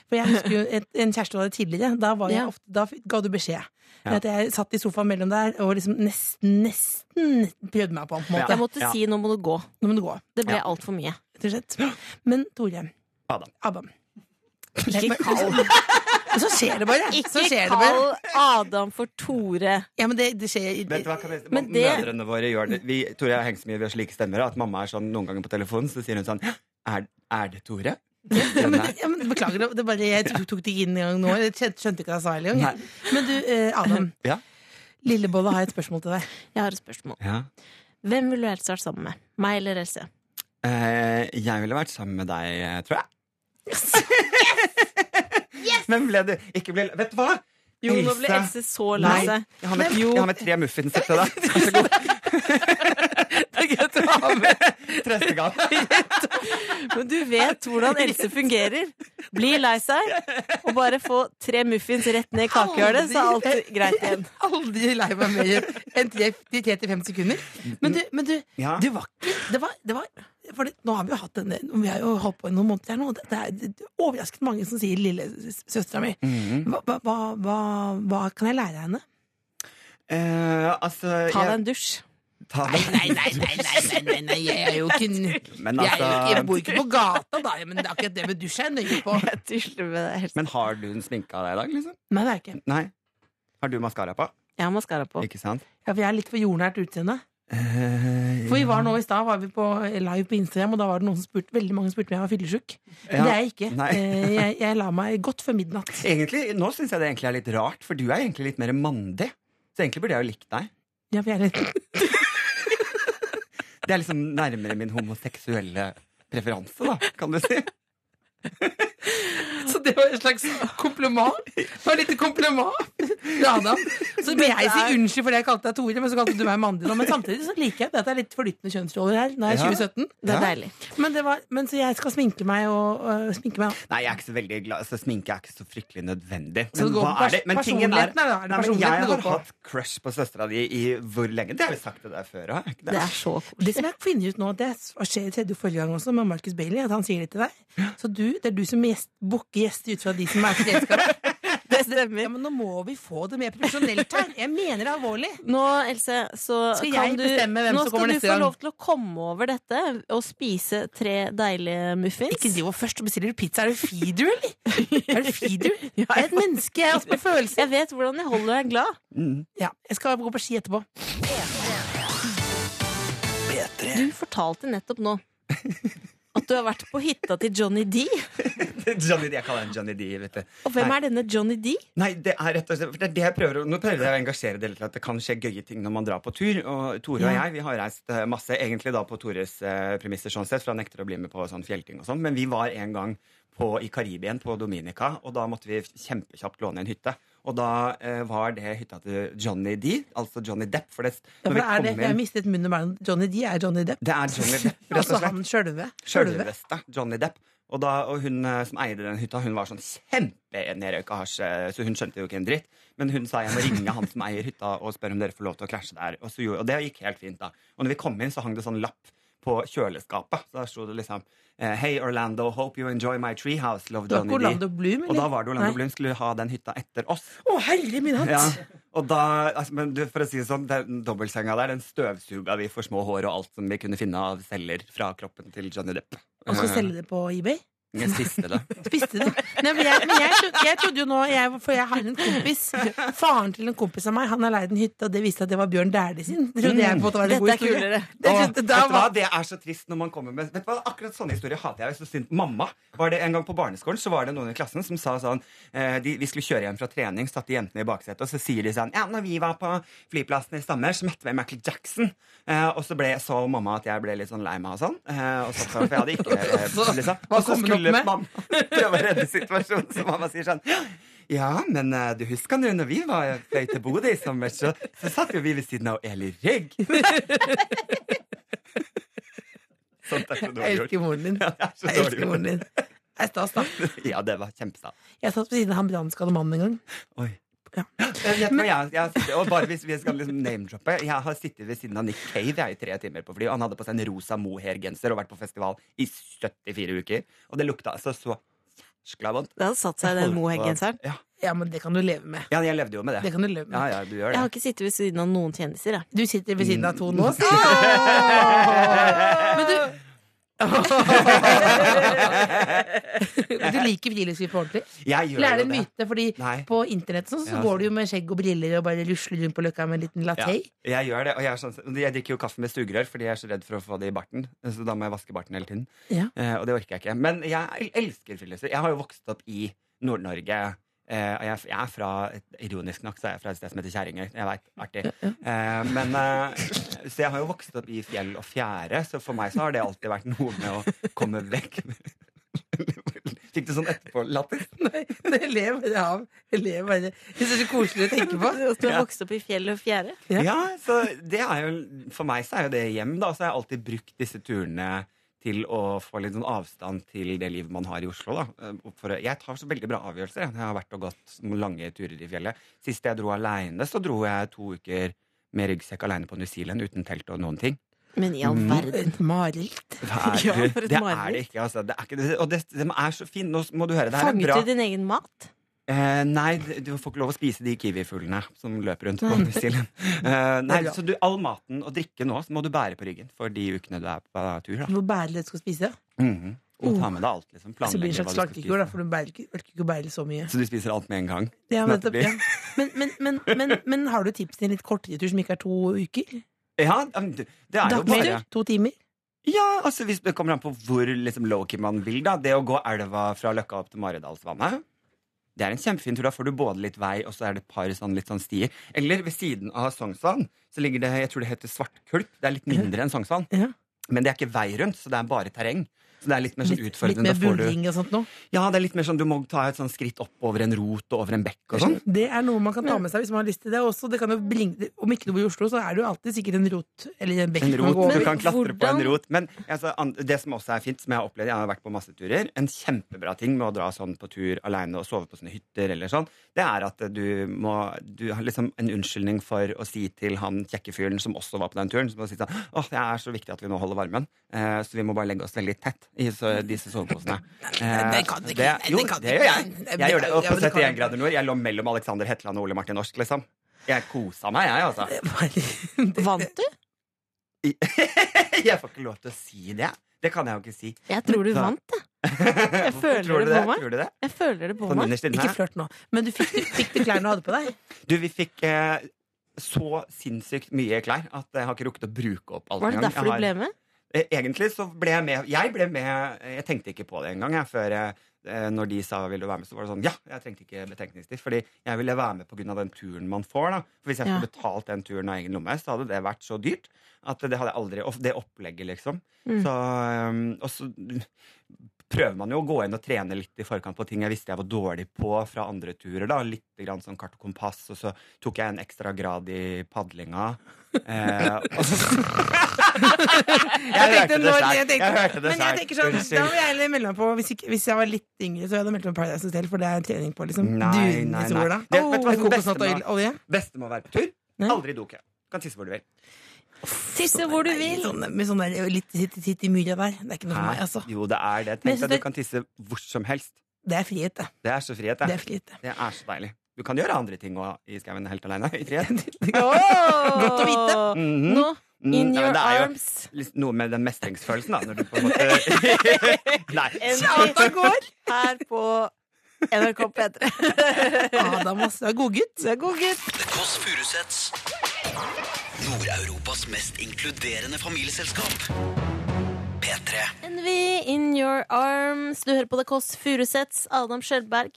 For jeg husker jo et, en kjæreste du hadde tidligere. Da, var jeg
Ja.
ofte, da ga du beskjed.
Ja.
At jeg satt i sofaen mellom der og liksom nesten, nesten prøvde meg på han. på en måte.
Jeg måtte
Ja.
si 'nå må du gå'.
Nå må du gå,
Det ble altfor mye.
rett og slett. Men Tore
Adam.
Adam. Ikke [laughs] kall Så skjer det bare. Så
Ikke
skjer det bare.
kall Adam for Tore.
Ja, men det, det skjer
Vet du hva, kan jeg,
Men det-
Mødrene våre gjør det. Vi, Tore og jeg henger så mye, vi har slike stemmer at mamma er sånn noen ganger på telefonen, så sier hun sånn Er, er det Tore? Nei.
[laughs] Ja, men Beklager, det- det bare, jeg tok, tok det ikke inn engang nå. Jeg skjønte skjønte ikke hva jeg sa heller.
Nei.
Men du, eh, Adam.
Ja.
Lillebolla har jeg et spørsmål til deg.
Jeg har et spørsmål.
Ja.
Hvem ville du helst vært sammen med? Meg eller Else?
Eh, jeg ville vært sammen med deg, eh, tror jeg. [laughs] Men ble du ikke ble, Vet du hva?
Jo, nå ble Else så
Nei,
lei seg.
jeg har med, jeg har med tre muffins til
[laughs]
deg. Vær så god.
Det er greit å ha
[laughs]
med.
Trøstegave.
Men du vet hvordan Else fungerer. Bli lei seg, og bare få tre muffins rett ned i kakehjørnet, så er alt greit igjen.
Aldri lei meg mer enn tre- de tre til fem sekunder. Men du, men du
Ja.
du var ikke Det var, det var for det, nå har vi jo hatt denne Vi har jo holdt på i noen måneder her nå. og Det, det er det er overraskende mange som sier lillesøstera mi.
Mhm.
Hva, hva, hva, hva, hva kan jeg lære henne?
Eh, altså
Ta deg
jeg-
en dusj.
Ta den.
nei, nei, nei, jeg er jo ikke
Men,
[laughs] Jeg, er jo- jeg bor
altså,
ikke på gata, da, men det er akkurat det med dusj jeg er nøye på.
[laughs]
Jeg tusler med deg. Else.
men har du en sminke av deg i dag, liksom?
Nei, det er jeg ikke.
Nei. Har du maskara på?
Jeg har maskara på.
Ikke sant?
Ja, for jeg er litt for jordnært utseende.
Eh,
For vi var nå i stad var vi på live på Instagram, og da var det noen som spurte, veldig mange som spurte om jeg var fyllesyk. Men
ja.
Det er jeg ikke.
Nei.
Eh, Jeg, jeg la meg godt før midnatt.
Egentlig, Nå syns jeg det egentlig er litt rart, for du er egentlig litt mer mandig. Så egentlig burde jeg jo likt deg.
Ja, for jeg er litt
Det er liksom nærmere min homoseksuelle preferanse, da, kan du si.
[laughs] Så det var et slags kompliment? Det var et lite kompliment til Adam. Så vil jeg si unnskyld for det jeg kalte deg Tore, men så kalte du meg Mandy nå. Men samtidig så liker jeg det at det er litt forlyttende kjønnsroller her. Nå er jeg
Ja.
2017.
Ja.
Det er deilig.
Men, det var, men så jeg skal sminke meg og øh, sminke meg.
Nei, jeg er ikke så veldig glad Så sminke er ikke så fryktelig nødvendig.
Så det går på pers-
tingen
personligheten, er det da? Er det
Nei, men
personligheten
Jeg
det
har
går på?
hatt crush på søstera di i hvor lenge? Det har vi sagt til deg før òg.
Det er så koselig.
Det som jeg finner ut nå, det skjer skjedde jo forrige gang også med Marcus Bailey, at han sier det til deg. Så du, det er du som gjest, booker gjester ut fra de som er forelska. Det
stemmer.
[laughs] Ja, men nå må vi få det mer profesjonelt her. Jeg mener det er alvorlig.
Nå, Else, så
Skal jeg
kan du
bestemme hvem
Nå
som
skal
kommer
du
neste
få
gang?
lov til å komme over dette og spise tre deilige muffins.
Ikke driv og først bestiller du pizza. Er du feeder, eller? Er du [laughs] feeder? Jeg er et menneske, jeg er også med følelser.
Jeg vet hvordan jeg holder deg glad.
Ja, jeg skal gå på ski etterpå.
P3.
Du fortalte nettopp nå at du har vært på hytta til Johnny D.
Johnny D, jeg kaller han Johnny D, vet du.
Og hvem
Nei.
er denne Johnny D?
Nei, det er rett og slett for det er det jeg prøver, å- Nå prøver jeg å engasjere dere til at det kan skje gøye ting når man drar på tur. Og Tore og jeg vi har reist eh, masse, egentlig da på Tores eh, premisser, sånn sett, for han nekter å bli med på sånn fjellting og sånn. Men vi var en gang på, i Karibien, på Dominica, og da måtte vi kjempekjapt låne en hytte. Og da eh, var det hytta til Johnny D, altså Johnny Depp. For det,
Ja,
når
for
vi
det er det.
kom
Jeg
inn-
mistet munnen i mellom. Johnny D er Johnny Depp.
det er Johnny Depp, rett og
Altså
slett.
han sjølve.
Sjølveste Johnny Depp. Og, da, og hun eh, som eide den hytta, hun var sånn kjempenedrøyka hasj, eh, så hun skjønte jo ikke en dritt. Men hun sa jeg må ringe han som eier hytta og spørre om dere får lov til å krasje der. Og, så, gjorde- og det gikk helt fint, da. Og når vi kom inn, så hang det sånn lapp på kjøleskapet. Så der sto det liksom eh, Hey Orlando, hope you enjoy my treehouse, love
Det var ikke
Johnny
Orlando
D.
Bloom,
Og da
eller?
var det Orlando
Nei.
Bloom skulle ha den hytta etter oss.
Å, herre min hatt!
Ja. Og da, altså, men du, for å si det sånn, den dobbeltsenga der, den støvsuga vi for små hår og alt som vi kunne finne av celler fra kroppen til Johnny Depp.
Og skal
Eh,
selge det på eBay?
jeg spiste det.
Spiste det. Nei, men jeg, men jeg, trodde, jeg trodde jo nå jeg, For jeg har en kompis. Faren til en kompis av meg Han har leid en hytte, og det viste at det var Bjørn Dæhlie sin. Det trodde jeg på at det var en
Mm. Dette er
god historie.
kulere.
[laughs] Det,
Åh,
det,
vet
da
du hva?
var,
det er så trist når man kommer med Vet du hva, Akkurat sånne historier hater jeg. Jeg er så sint. Mamma var det En gang på barneskolen så var det noen i klassen som sa sånn eh, de, Vi skulle kjøre hjem fra trening, så satt de jentene i baksetet, og så sier de sånn Ja, når vi var på flyplassen i sommer, så møtte vi Michael Jackson. Eh, og så ble, så mamma at jeg ble litt sånn lei meg og sånn. Eh, og så, for jeg hadde ikke
[laughs]
eh, liksom.
Hva
Og så
kom hun opp
skulle
med?
mamma [laughs] prøve å redde situasjonen, så mamma sier sånn ja, men eh, du husker nå når vi var fløy til Bodø i sommer, så, så satt jo vi ved siden av Eli Rygg. Sånt er så
Jeg
dårlig gjort.
elsker moren din.
Det er så
Jeg
dårlig
elsker moren din. Det er stas, da.
gjort. [laughs] Ja, det var kjempestas.
Jeg satt ved siden av han brannskadde mannen en gang.
Oi.
Ja.
Jeg vet hva jeg, jeg, og bare hvis vi skal liksom name-droppe Jeg har sittet ved siden av Nick Cave jeg, i tre timer på fly. og Han hadde på seg en rosa mohair-genser og vært på festival i 74 uker. Og det lukta altså så skla vondt.
Det hadde satt seg i den mohegenseren.
Ja.
Ja, men det kan du leve med.
ja, jeg levde jo med
Det
det.
kan du leve med.
Ja, ja, du gjør
Jeg
det.
har ikke sittet ved siden av noen kjendiser, jeg.
Du sitter ved siden av to nå. så- Men du [laughs] Du liker friluftsliv på ordentlig?
Jeg gjør
Lære
jo
en
det.
myte, fordi
Nei.
på internett sånn, så
Ja, altså.
går du jo med skjegg og briller og bare rusler rundt på løkka med en liten latte.
Ja, jeg gjør det, og jeg, er sånn, jeg drikker jo kaffe med sugerør fordi jeg er så redd for å få det i barten. Så da må jeg vaske barten hele tiden.
Ja.
Eh, og det orker jeg ikke. Men jeg el- elsker friluftsliv. Jeg har jo vokst opp i Nord-Norge. Eh, og jeg, jeg er fra, Ironisk nok så er jeg fra et sted som heter Kjerringøy. Jeg vet, artig. Eh, men, eh, så jeg har jo vokst opp i fjell og fjære, så for meg så har det alltid vært noe med å komme vekk. [laughs] Fikk du sånn etterpå-latter?
[laughs] Nei, det lever jeg av. Jeg ler bare. Jeg synes [laughs] det er så koselig å tenke på.
At du har vokst opp i fjell og fjære.
Ja.
Ja, så det er jo, For meg så er jo det hjem, da. Så har jeg alltid brukt disse turene til å få litt sånn avstand til det livet man har i Oslo. da. Eh, For jeg tar så veldig bra avgjørelser. jeg. Jeg har vært og gått lange turer i fjellet. Sist jeg dro aleine, så dro jeg to uker med ryggsekk aleine på New Zealand uten telt og noen ting.
Men i all verden.
Et mareritt.
Det er,
[laughs] Ja, for et
det, er det
mareritt.
ikke, altså. Det er ikke, det- og det, de er så fine. Nå må du høre. Det her er
Fanget
bra.
du din egen mat?
Eh, nei, d- du får ikke lov å spise de kiwifuglene som løper rundt på New
[laughs]
Zealand. Eh, nei,
Det er bra.
så du, all maten og drikke nå så må du bære på ryggen for de ukene du er på tur. Da.
Du må bære litt du skal spise. Mm-hmm.
Mhm. Og ta med deg alt. Liksom,
Så blir det en
Planlegge hva
slags
du skal
slankekur, da,
spise.
for du bærer ikke- orker ikke å bære så mye.
Så du spiser alt med en gang?
Ja,
Sånn at det
nettopp, ja. Men, men, men, men, men har du tips til en litt kortere tur som ikke er to uker?
blir- Ja, ja, men du- det er jo
Dagstur?
bare
To timer?
Ja, altså hvis Det kommer an på hvor liksom, lowkey man vil. da Det å gå elva fra Løkka opp til Maridalsvannet. Det er en kjempefin tur. Da får du både litt vei og så er det et par sånn, litt sånn stier. Eller ved siden av Sognsvann så ligger det jeg tror det heter Svartkulp. Det er litt mindre enn Sognsvann.
Ja.
Men det er ikke vei rundt, så det er bare terreng. Så det er litt mer sånn
Litt, litt
utfordrende.
mer
Da får du-
buldring og sånt nå?
Ja, det er litt mer sånn du må ta et sånn skritt opp over en rot og over en bekk og sånn.
Det er noe man kan ta med seg hvis man har lyst til det. Også, det kan jo bringe, om ikke du bor i Oslo, så er det jo alltid sikkert en rot eller en bekk.
En
man går
rot,
over.
Du kan klatre på en
hvordan-
rot. Men altså, an- det som også er fint, som jeg har opplevd, jeg har vært på masse turer, en kjempebra ting med å dra sånn på tur alene og sove på sånne hytter eller sånn, det er at du må Du har liksom en unnskyldning for å si til han kjekke fyren som også var på den turen, som må si sånn Åh, det er så viktig at vi nå holder varmen, eh, så vi må bare legge oss veldig tett. i så, disse soveposene. Eh,
det kan du ikke. [laughs] Nei,
jo,
det kan du
det gjør jeg.
ikke.
Jeg gjør det. Og
Ja,
på
men du kan
71 grader nord. Jeg lå mellom Alexander Hetland og Ole Martin Norsk, liksom. Jeg kosa meg, jeg,
Eh,
altså.
Vant du?
[laughs] Jeg får ikke lov til å si det. Det kan jeg jo ikke si.
Jeg tror du
Da-
vant, [laughs] jeg.
Jeg
føler det på meg.
Tror du det?
Jeg føler det på
Sånn
meg.
innerst inne?
Ikke flørt nå. Men du fikk, du fikk de klærne du hadde
[laughs]
på deg?
Du, vi fikk eh, så sinnssykt mye klær at jeg har ikke rukket å bruke opp alt
Var det
engang.
derfor du
Jeg har-
ble med?
Eh, Egentlig så ble jeg med Jeg ble med Jeg tenkte ikke på det engang, jeg, før jeg eh, når de sa 'vil du være med', så var det sånn Ja, jeg trengte ikke betenkningstid. Fordi jeg ville være med pga. den turen man får. da For Hvis jeg
Ja.
skulle betalt den turen av egen lomme, så hadde det vært så dyrt at det hadde jeg aldri og Det opplegget, liksom.
Mm.
Så, eh, og så prøver man jo å gå inn og trene litt i forkant på ting jeg visste jeg var dårlig på fra andre turer. da Litt grann sånn kart og kompass, og så tok jeg en ekstra grad i padlinga. Eh, og så jeg, hørte
tenkte
det
når-
selv.
jeg tenkte-
jeg hørte det
Men jeg
selv.
tenker sånn,
Unnskyld.
da må jeg heller melde meg på hvis, ikke, hvis jeg var litt yngre, så hadde jeg meldt meg på Paradise Hotel, for det er trening på liksom
Nei, nei, nei.
dunisola.
Det- vet du hva som bestemmer?
kokosnøttolje.
Beste med å være på tur.
Ja.
Aldri doke. Kan tisse hvor du vil.
Tisse hvor du
Nei,
vil.
Sånn, med sånn der, litt sitt, sitt i myra der. Det er ikke noe for meg, altså.
Jo, det er det.
Men
Tenk
så
deg,
det-
du kan tisse hvor som helst.
Det er frihet, det.
Det er så frihet,
det,
det.
er frihet, det.
Det er så deilig. Du kan gjøre andre ting også i skauen helt alene. I frihet.
Godt
å vite.
Mhm.
Nå,
Mm,
in
nei, men
your
det er jo
arms.
litt Noe med den mestringsfølelsen, da, når du på en
[laughs]
måte Nei.
Endelig her på NRK P3.
Adam, altså. Du er god gutt.
Du er god gutt.
The Kåss Furuseths. Nord-Europas mest inkluderende familieselskap. P3.
NV, in your arms. Du hører på The Kåss Furuseths. Adam Skjølberg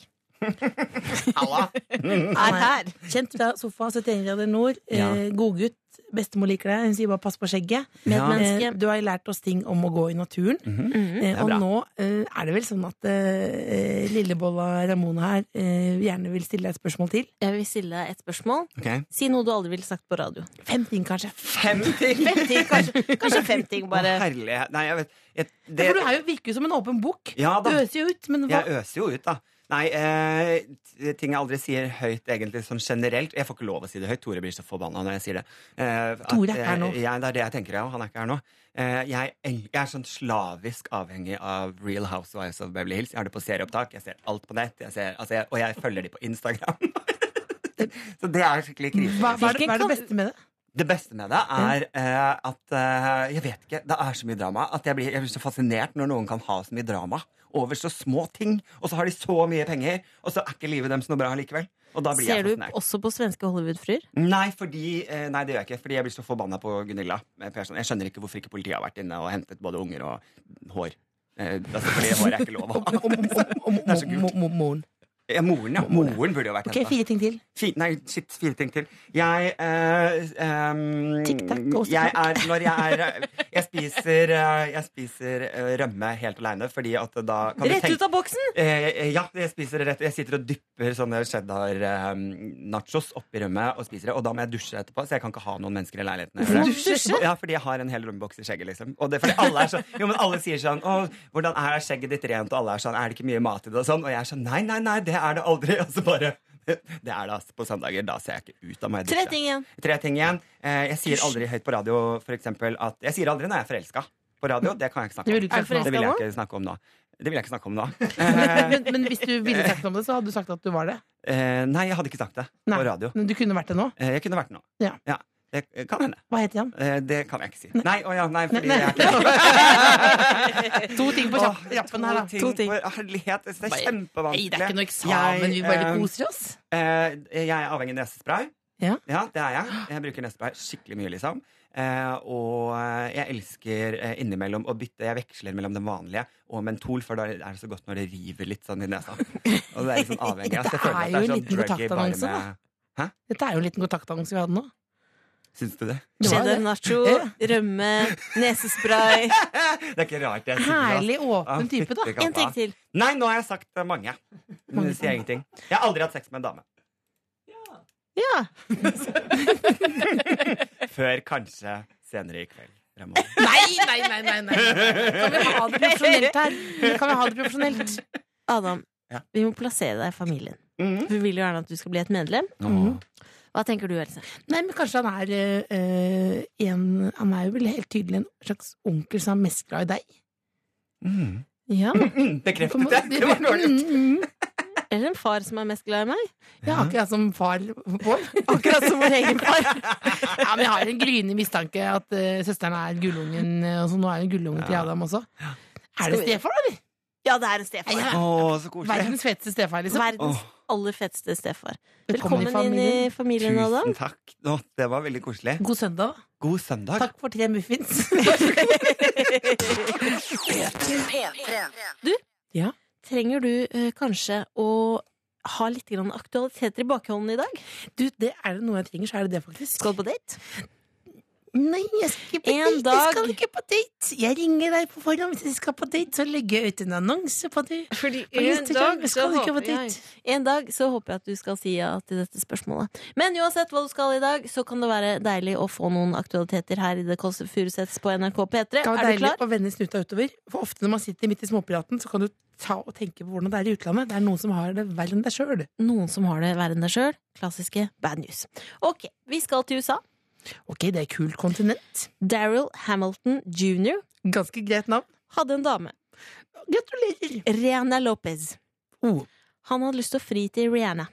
Halla.
er her.
Kjent fra sofa 71 grader nord.
Ja.
Eh, god gutt. Bestemor liker deg. Hun sier bare 'pass på skjegget'.
Ja. Mhm.
Eh, du har lært oss ting om å gå i naturen.
Mhm.
eh,
er
og
bra.
nå eh, er det vel sånn at eh, lillebolla Ramona her eh, gjerne vil stille deg et spørsmål til.
Jeg vil stille deg et spørsmål.
Ok.
Si noe du aldri ville sagt på radio.
Fem ting, kanskje.
Fem ting!
Fem ting, kanskje, kanskje fem ting,
Å,
bare.
herlighet. Nei, jeg vet jeg,
Ja,
det,
for du er jo, virker jo som en åpen bok.
Ja da.
Du øser jo ut, men hva?
Jeg øser jo ut, da. Nei, eh, t- ting jeg aldri sier høyt, egentlig, sånn generelt. Jeg får ikke lov å si det høyt. Tore blir så forbanna når jeg sier det. Eh, at
Tore er ikke her nå.
Jeg, jeg, det er det jeg tenker, ja. Han er ikke her nå. Eh, jeg, el- jeg er sånn slavisk avhengig av Real Housewives of Beverly Hills. Jeg har det på serieopptak, jeg ser alt på nett, jeg ser, altså, jeg, og jeg følger de på Instagram. [laughs] så det er skikkelig krise.
Hva, hva, er, det-
Hvilken
hva er det
kan-
beste med det?
Det beste med det er eh, at eh, Jeg vet ikke, det er så mye drama at jeg blir, jeg blir så fascinert når noen kan ha så mye drama over så små ting. Og så har de så mye penger, og så er ikke livet deres noe bra likevel. Og da blir
Ser
jeg
du
fascinert.
også på svenske Hollywood-fryer?
Nei, fordi, eh, nei, det gjør jeg ikke. Fordi jeg blir så forbanna på Gunilla. eh, Persson. Jeg skjønner ikke hvorfor ikke politiet har vært inne og hentet både unger og hår. Eh, altså, fordi håret er ikke lov å ha.
[laughs] Om, om, om,
Det er så
om,
gult.
om, om moren.
Ja, moren, ja. Moren burde jo vært altså.
Ok, fire ting til.
Fi- nei, shit, fire ting til. Jeg eh, ehm,
Tic-tac, ghost
jeg er, Når jeg
[laughs]
er Jeg spiser, eh, jeg spiser eh, rømme helt aleine, fordi at da kan
Rett ut av boksen!
Eh, ja, jeg spiser rett Jeg sitter og dypper sånne cheddar eh, nachos oppi rømme og spiser det. Og da må jeg dusje etterpå, så jeg kan ikke ha noen mennesker i leiligheten. når jeg gjør det. Ja, fordi jeg har en hel rømmeboks i skjegget, liksom. Og det, fordi alle er sånn, jo, men alle sier sånn Å, hvordan er skjegget ditt rent? Og alle er sånn Er det ikke mye mat i det? Og sånn. Og jeg er sånn Nei, nei, nei, det er det aldri. Og så bare Det er det altså på søndager. Da ser jeg ikke ut. Da må jeg
Tre
dusje.
ting igjen.
Tre ting igjen. Eh, jeg sier aldri høyt på radio for eksempel at Jeg sier aldri når jeg er forelska på radio. Det kan jeg ikke snakke
Det
om.
vil du ikke
Er du
snakke om.
det vil jeg ikke snakke
forelska nå?
om nå. Det vil jeg ikke snakke om nå.
[laughs] Men, men hvis du ville sagt noe om det, så hadde du sagt at du var det.
Eh, nei, jeg hadde ikke sagt det
Nei,
på radio.
Men du kunne vært det nå.
Eh, jeg kunne vært nå.
Ja.
Det eh, kan hende.
Hva heter han?
Eh, det kan jeg ikke si. Nei, å ja, nei, fordi
Nei,
jeg
nei.
er ikke
To ting [laughs] på
Åh,
kjapp- kjappen her, da.
To ting. for Herlighet, det er
Bare- Nei,
kjempevanskelig.
det er ikke noe eksamen, vi bare koser oss.
Eh, eh, jeg er avhengig av nesespray.
Ja.
det er jeg. Jeg bruker nesespray skikkelig mye, liksom. Eh, og eh, jeg elsker eh, innimellom å bytte. Jeg veksler mellom den vanlige og mentol, for da er det så godt når det river litt sånn i nesa. Og det er liksom avhengig. Altså, jeg føler at det er
[laughs] Det er jo en
sånn
liten
druggy bare
kontaktannonse, da.
med
Dette er jo en liten kontaktannonse vi hadde nå.
Syns du det?
Det var
Cheddar
det.
nacho,
Ja.
rømme,
[laughs]
nesespray.
Det er ikke rart jeg sier det. altså.
Herlig åpen type, da.
Ah, fytti
En ting
katta.
til.
Nei, nå har jeg sagt eh, mange. Nå sier jeg ingenting. Jeg har aldri hatt sex med en dame.
Ja.
Før kanskje senere i kveld. Ramon.
Nei, nei, nei, nei, nei. Kan vi ha det profesjonelt her? Kan vi ha det profesjonelt?
Adam,
Ja.
vi må plassere deg i familien.
Mhm.
Vi vil jo gjerne at du skal bli et medlem.
Mm.
Åh.
Hva tenker du, Else?
Nei, men kanskje han er eh, en Han er jo vel helt tydelig en slags onkel som er mest glad i deg.
Ja.
Mm, bekreftet det. Det var dårlig
Mm,
gjort.
Eller en far som er mest glad i meg.
Ja, akkurat som far vår. Mhm. [laughs] Akkurat som vår egen far. [laughs] Ja, men jeg har en gryende mistanke at eh, søsteren er gullungen, eh, og så nå er hun gullungen til Adam også. Er det stefar, da, eller?
Ja, det er en stefar.
Ja,
Å, så koselig.
Mm. Verdens feteste stefar, liksom.
Verdens
Åh.
aller feteste stefar.
Velkommen i
Velkommen inn i familien, Adam.
Tusen takk. Å, det var veldig koselig.
God søndag. da.
God søndag.
Takk for tre [laughs] muffins.
Trenger du eh, kanskje å ha litt grann aktualiteter i bakhånden i dag?
Du, det er det noe jeg trenger, så er det det, faktisk.
Skal på date?
Nei, jeg skal ikke på
En
date.
dag.
Jeg skal ikke på date. Jeg ringer deg på forhånd hvis jeg skal på date, så legger jeg ut en annonse på det.
Fordi
Har du lyst til å klage? Skal du ikke på date?
En dag så håper jeg at du skal si ja til dette spørsmålet. Men uansett hva du skal i dag, så kan det være deilig å få noen aktualiteter her i Det Kåss Furuseths på NRK P3.
Det kan
Er
være
du
deilig
klar?
å vende snuta utover. For ofte når man sitter midt i småpiraten, så kan du ta og tenke på hvordan det er i utlandet. Det er noen som har det verre enn deg sjøl.
Noen som har det verre enn deg sjøl. Klassiske bad news. Ok, vi skal til USA.
Ok, det er et kult kontinent.
Daryl Hamilton jr.
Ganske greit navn.
hadde en dame.
Gratulerer!
Rihanna Lopez.
Oh,
Han hadde lyst til å fri til Rihanna.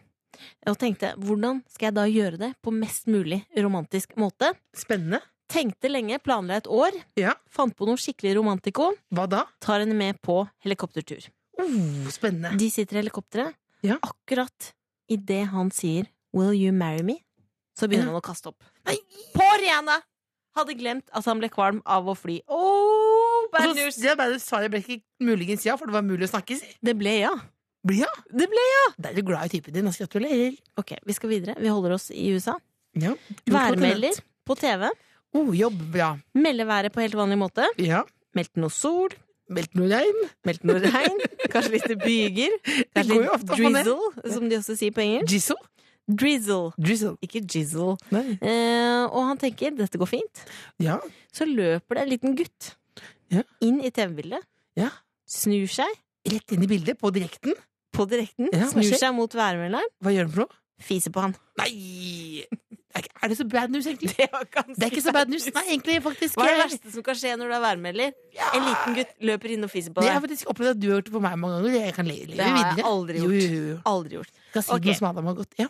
Og tenkte hvordan skal jeg da gjøre det på mest mulig romantisk måte?
spennende.
Tenkte lenge, planla et år.
Ja.
Fant på noe skikkelig romantico.
Hva da?
Tar henne med på helikoptertur.
Oh, spennende.
De sitter i helikopteret.
Ja.
Akkurat idet han sier 'Will you marry me?', så begynner
Ja.
han å kaste opp.
Nei.
På Rihanna! Hadde glemt at han ble kvalm av å fly. Oh, bad
Og så-
news!
Det er bare Sara Brekke muligens ja, for det var mulig å snakkes.
Det ble ja.
Blir ja.
Det ble ja!
Da er du glad i typen din. Altså, gratulerer.
Ok, vi skal videre. Vi holder oss i USA.
Ja.
Værmelder på TV.
Oh, jobb bra.
Melde været på helt vanlig måte.
Ja.
Meldt noe sol,
Meldt noe regn.
meldt [laughs] noe regn, kanskje litt byger.
Det
Kanskje
går jo
litt
ofte opp og ned.
drizzle, som de også sier på engelsk.
Jizzle.
Drizzle,
Drizzle.
ikke jizzle.
Nei.
Eh, og han tenker dette går fint.
Ja.
Så løper det en liten gutt
Ja.
inn i TV-bildet,
Ja.
snur seg
Rett inn i bildet, på direkten.
på direkten,
Ja, hva
snur
skjer?
seg mot værmelderen,
Hva gjør den for noe?
fiser på [laughs] han.
Nei! Er ikke- er det så bad news, egentlig?
Det var ganske
Det er ikke så bad news. Nei, egentlig, faktisk. eh,
Hva er det
jeg-
verste som kan skje når du er værmelder? En liten gutt løper inn og fiser på
Det har jeg
deg.
faktisk opplevd at du har gjort det på meg mange ganger. Jeg kan le leve
Det har jeg
videre.
aldri
Jo,
gjort.
jo, jo.
Aldri gjort.
Skal si
Ok.
noe som Adam har gått. Ja,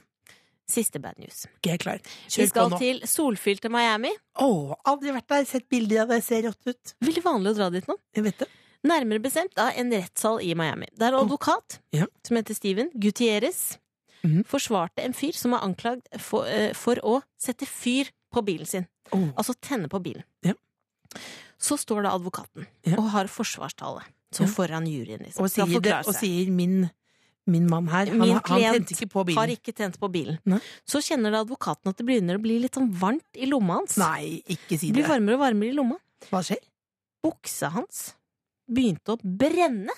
Siste bad news.
ok, jeg er klar.
Vi
Kjør på
skal
nå.
til solfylte Miami.
Å, aldri vært der. Sett bilder av deg. Ser rått ut.
Veldig vanlig å dra dit nå.
Jeg vet det.
Nærmere bestemt av en rettssal i Miami. Der advokat,
Ja.
som heter Steven Gutierrez,
Mhm.
forsvarte en fyr som er anklagd for, eh, for å sette fyr på bilen sin.
Oh.
Altså tenne på bilen.
Ja.
Så står da advokaten
Ja.
og har forsvarstale. Så
Ja.
foran juryen, liksom.
Og
Skal
sier,
forklare
det, og
seg.
sier min, min mann her Han,
Min
han
klient
tente ikke på
Har
bilen.
ikke tent på bilen.
Nei.
Så kjenner da advokaten at det begynner å bli litt sånn varmt i lomma hans.
Nei, ikke si
det blir
det.
varmere og varmere i lomma.
Hva skjer?
buksa hans begynte å brenne.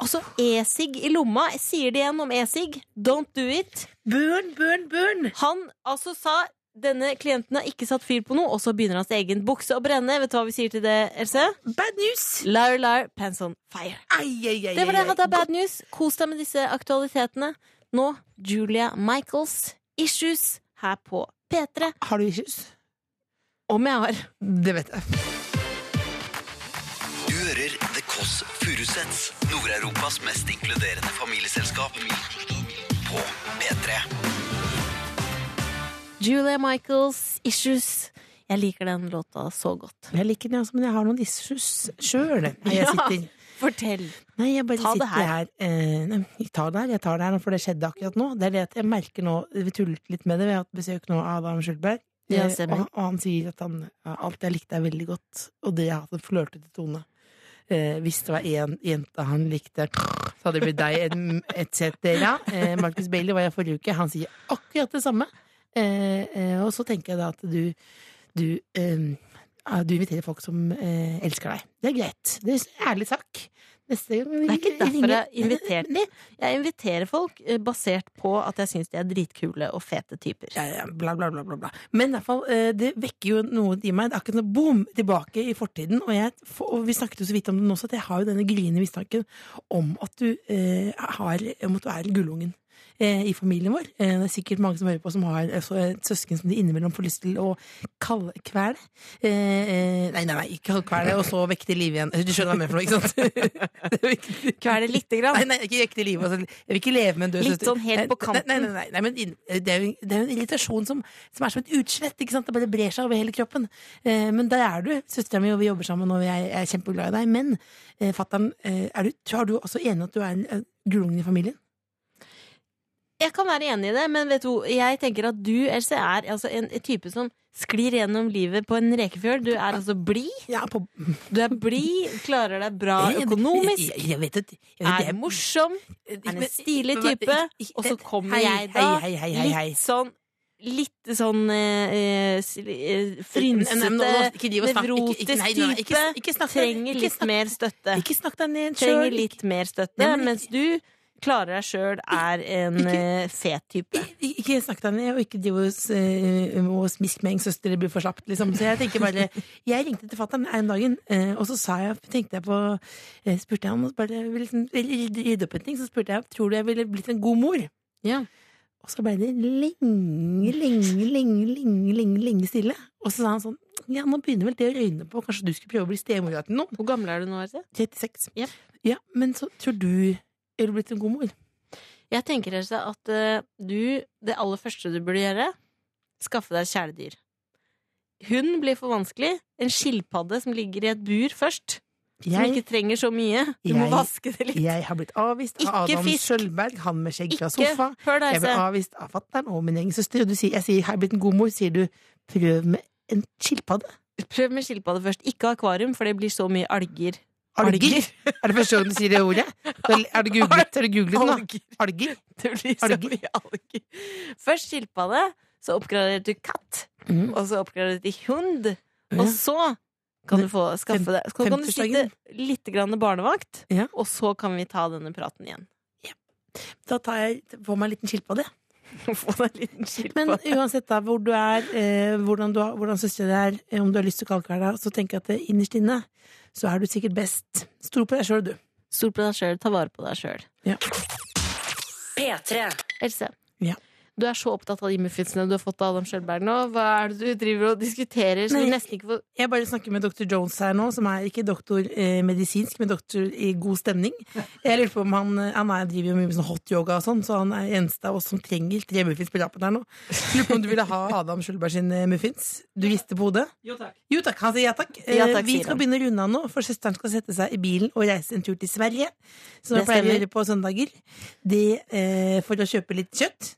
Altså, e-sig i lomma. Jeg sier det igjen om e-sig. Don't do it.
Burn, burn, burn!
Han altså sa denne klienten har ikke satt fyr på noe, og så begynner hans egen bukse å brenne. Vet du hva vi sier til det, Else?
Bad news!
Liar, liar, pants on fire.
Ai, ai, ai,
Det var det
ai,
jeg
ai.
hadde av bad news. Kos deg med disse aktualitetene. Nå Julia Michaels Issues her på P3.
Har du issues?
Om jeg har.
Det vet jeg.
Du hører The Kåss Furuseths, Nord-Europas mest inkluderende familieselskap på P3.
Julia Michaels Issues. Jeg liker den låta så godt.
Jeg liker den, altså, men jeg har noen issues sjøl. Jeg
Ja.
sitter
Fortell.
Nei, jeg bare
Ta det
sitter her. eh, nei, jeg tar det her, jeg tar det her, nå, for det skjedde akkurat nå. Det er det at jeg merker nå, vi tullet litt med det, vi har hatt besøk nå av Adam Schulberg.
Ja,
Eh,
stemmer.
og, og han sier at han, ja, alt jeg likte er veldig godt, og det har hatt en flørtete tone. Eh, hvis det var én jente han likte, så hadde det blitt deg, en- et cetera. Eh, Marcus Bailey var jeg forrige uke, han sier akkurat det samme. Eh, eh, og så tenker jeg da at du, du eh, ja, du inviterer folk som eh, elsker deg. Det er greit. Det er en ærlig sak. Neste gang
Det er ikke derfor jeg
[laughs]
inviterte de. Jeg inviterer folk eh, basert på at jeg syns de er dritkule og fete typer.
ja, ja, bla, bla, bla, bla, bla. Men i hvert fall, eh, det vekker jo noe i meg. Det er akkurat sånn boom, tilbake i fortiden. Og, jeg, f- og vi snakket jo så vidt om det nå også, at jeg har jo denne gryende mistanken om at du eh, har om at du er gullungen. eh, i familien vår. Eh, det er sikkert mange som hører på som har eh, så- et søsken som de innimellom får lyst til å kaldkvele. Eh, eh, nei, nei, nei, ikke kaldkvele, og så vekke til live igjen. Du skjønner hva jeg mener for noe, ikke sant? [laughs] Det er viktig.
Kvele lite grann.
Nei, nei, ikke vekke til live. Altså, jeg vil ikke leve med en død
Litt sånn helt på
Nei, Nei, nei, nei, nei, men inn- det er jo det er jo en irritasjon som, som er som et utslett. Ikke sant? Det bare brer seg over hele kroppen. Eh, men der er du, søstera mi, og vi jobber sammen, og jeg, jeg er kjempeglad i deg. Men eh, fatter'n, eh, er du, tror- er du også enig at du er en eh, gulungen i familien?
Jeg kan være enig i det, men vet du, hvor? jeg tenker at du Else, er altså, en en type som sklir gjennom livet på en rekefjøl. Du er altså blid.
Ja, på,
Du er blid, klarer deg bra økonomisk,
Jeg, jeg, jeg vet at jeg vet,
er
jeg-
morsom, er en
Men-
stilig
men-
type.
ikke-
Og så kommer
hei,
jeg, da,
Hei, hei, hei, hei.
litt sånn Litt sånn eh, eh, sli- eh, frynsete,
Nei, men nå- nå- ikke driv og snakk- ikke- ikke-
nevrotisk
nei, nei, nei, ikke-
type.
ikke snakk-
Trenger
ikke
litt
snakk-
mer støtte.
Ikke snakk deg ned sjøl.
Trenger litt mer støtte,
Nei, men
mens du klarer deg sjøl, er en eh, fet type.
Ikke snakk deg ned, og ikke driv og, s- eh, og smisk med en søster, det blir for slapt, liksom. Så jeg tenker bare Jeg ringte til fatter'n en dagen, eh, og så sa jeg, tenkte jeg på eh, Spurte jeg om bare, jeg ville liksom, rydde rydde opp en ting, så spurte jeg Tror du jeg ville blitt en god mor.
Ja.
Og så ble det lenge, lenge, lenge, lenge, lenge, lenge stille. Og så sa han sånn Ja, nå begynner vel det å røyne på, kanskje du skulle prøve å bli stemora til noen?
Hvor gammel er du nå, Else?
36.
Ja.
Ja, men så tror du Er du blitt en god mor?
Jeg tenker Else, at eh, du, det aller første du burde gjøre, skaffe deg et kjæledyr. Hund blir for vanskelig. En skilpadde som ligger i et bur først, som
Jeg,
ikke trenger så mye. Du må
Jeg-
vaske det
[laughs]
litt.
jeg har blitt avvist av
Ikke
Adam
fisk.
Skjølberg, han med skjegg fra
Ikke
sofa.
hør deg,
Jeg ble
Else.
avvist av fatter'n og min egen søster. Og du sier, jeg sier 'har jeg blitt en god mor', sier du 'prøv med en skilpadde'.
Prøv med skilpadde først. Ikke akvarium, for det blir så mye alger.
Alger? er det første gang du sier det ordet? Er det googlet, er det googlet nå?
Alger.
Alger?
[laughs] Det blir så
Alger.
mye alger. Først skilpadde, så oppgraderer du katt,
Mhm.
og så oppgraderer du til hund.
Ja.
Og så kan du få skaffe deg Så kan du sitte
femtiårsdagen.
litt grann barnevakt,
Ja.
og så kan vi ta denne praten igjen. [laughs]
Da tar jeg på meg en liten skilpadde.
Få deg en liten
[laughs] Men
skilpadde. uh,
uansett da, hvor du er, eh, hvordan, du har, hvordan søsteren er, eh, om du har lyst til å kalkvære deg, så tenker jeg at eh, innerst inne så er du sikkert best. Stol på deg sjøl, du.
Stol på deg sjøl, ta vare på deg sjøl.
P3.
Else,
Ja.
du er så opptatt av de muffinsene du har fått av Adam Sjølberg nå. Hva er det du driver og diskuterer? Så vi
Nei.
nesten ikke får
Jeg bare snakker med doktor Jones her nå, som er ikke doktor eh, medisinsk, men doktor i god stemning. Jeg lurer på om Han, eh, han er, driver jo mye med sånn hot yoga og sånn, så han er eneste av oss som trenger tre muffins på rappen her nå. Lurer på om du ville ha Adam Skjølberg sin eh, muffins? Du rister på hodet?
Jo takk.
Jo takk, han sier ja takk.
Ja takk,
Eh, vi
sier han.
skal begynne å runde av nå, for søsteren skal sette seg i bilen og reise en tur til Sverige. Som
Det
jeg pleier å
stemmer.
gjøre på søndager. Det, eh, for å kjøpe litt kjøtt.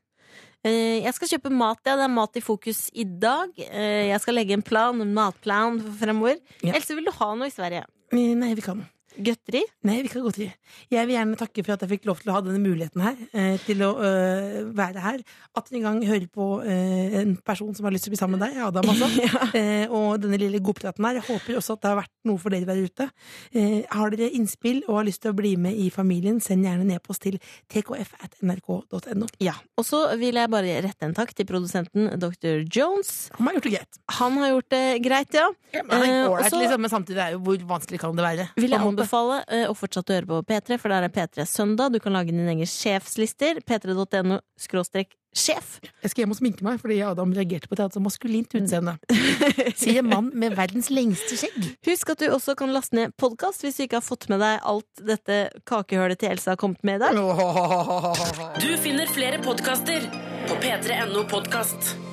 Eh, Jeg skal kjøpe mat, ja. Det er mat i fokus i dag. Eh, Jeg skal legge en plan, en matplan for fremover.
Ja.
Else, vil du ha noe i Sverige?
Eh, Nei, vi kan.
Godteri?
Nei, vi kan godt gjøre. Jeg vil gjerne takke for at jeg fikk lov til å ha denne muligheten her. Eh, til å eh, være her. Atter en gang høre på eh, en person som har lyst til å bli sammen med deg, Adam
[laughs]
altså. Eh, og denne lille godpraten her. Jeg håper også at det har vært noe for dere der ute. Eh, har dere innspill og har lyst til å bli med i familien, send gjerne en e-post til tkf.nrk.no.
Ja. Og så vil jeg bare rette en takk til produsenten Dr. Jones.
Han har gjort det greit.
Han har gjort det greit, ja.
Men
Eh, og
ålreit,
så-
liksom, men samtidig er jo hvor vanskelig kan det være?
Vil jeg
På en måte.
anbefale eh, å fortsette å høre på P3, for der er P3 søndag. Du kan lage dine egne sjefslister. p3.no skråstrek sjef.
Jeg skal hjem og sminke meg, fordi Adam reagerte på at jeg hadde så maskulint utseende. Sier en mann med verdens lengste skjegg.
Husk at du også kan laste ned podkast hvis du ikke har fått med deg alt dette kakehølet til Else har kommet med i dag.
Du finner flere podkaster på p3.no podkast.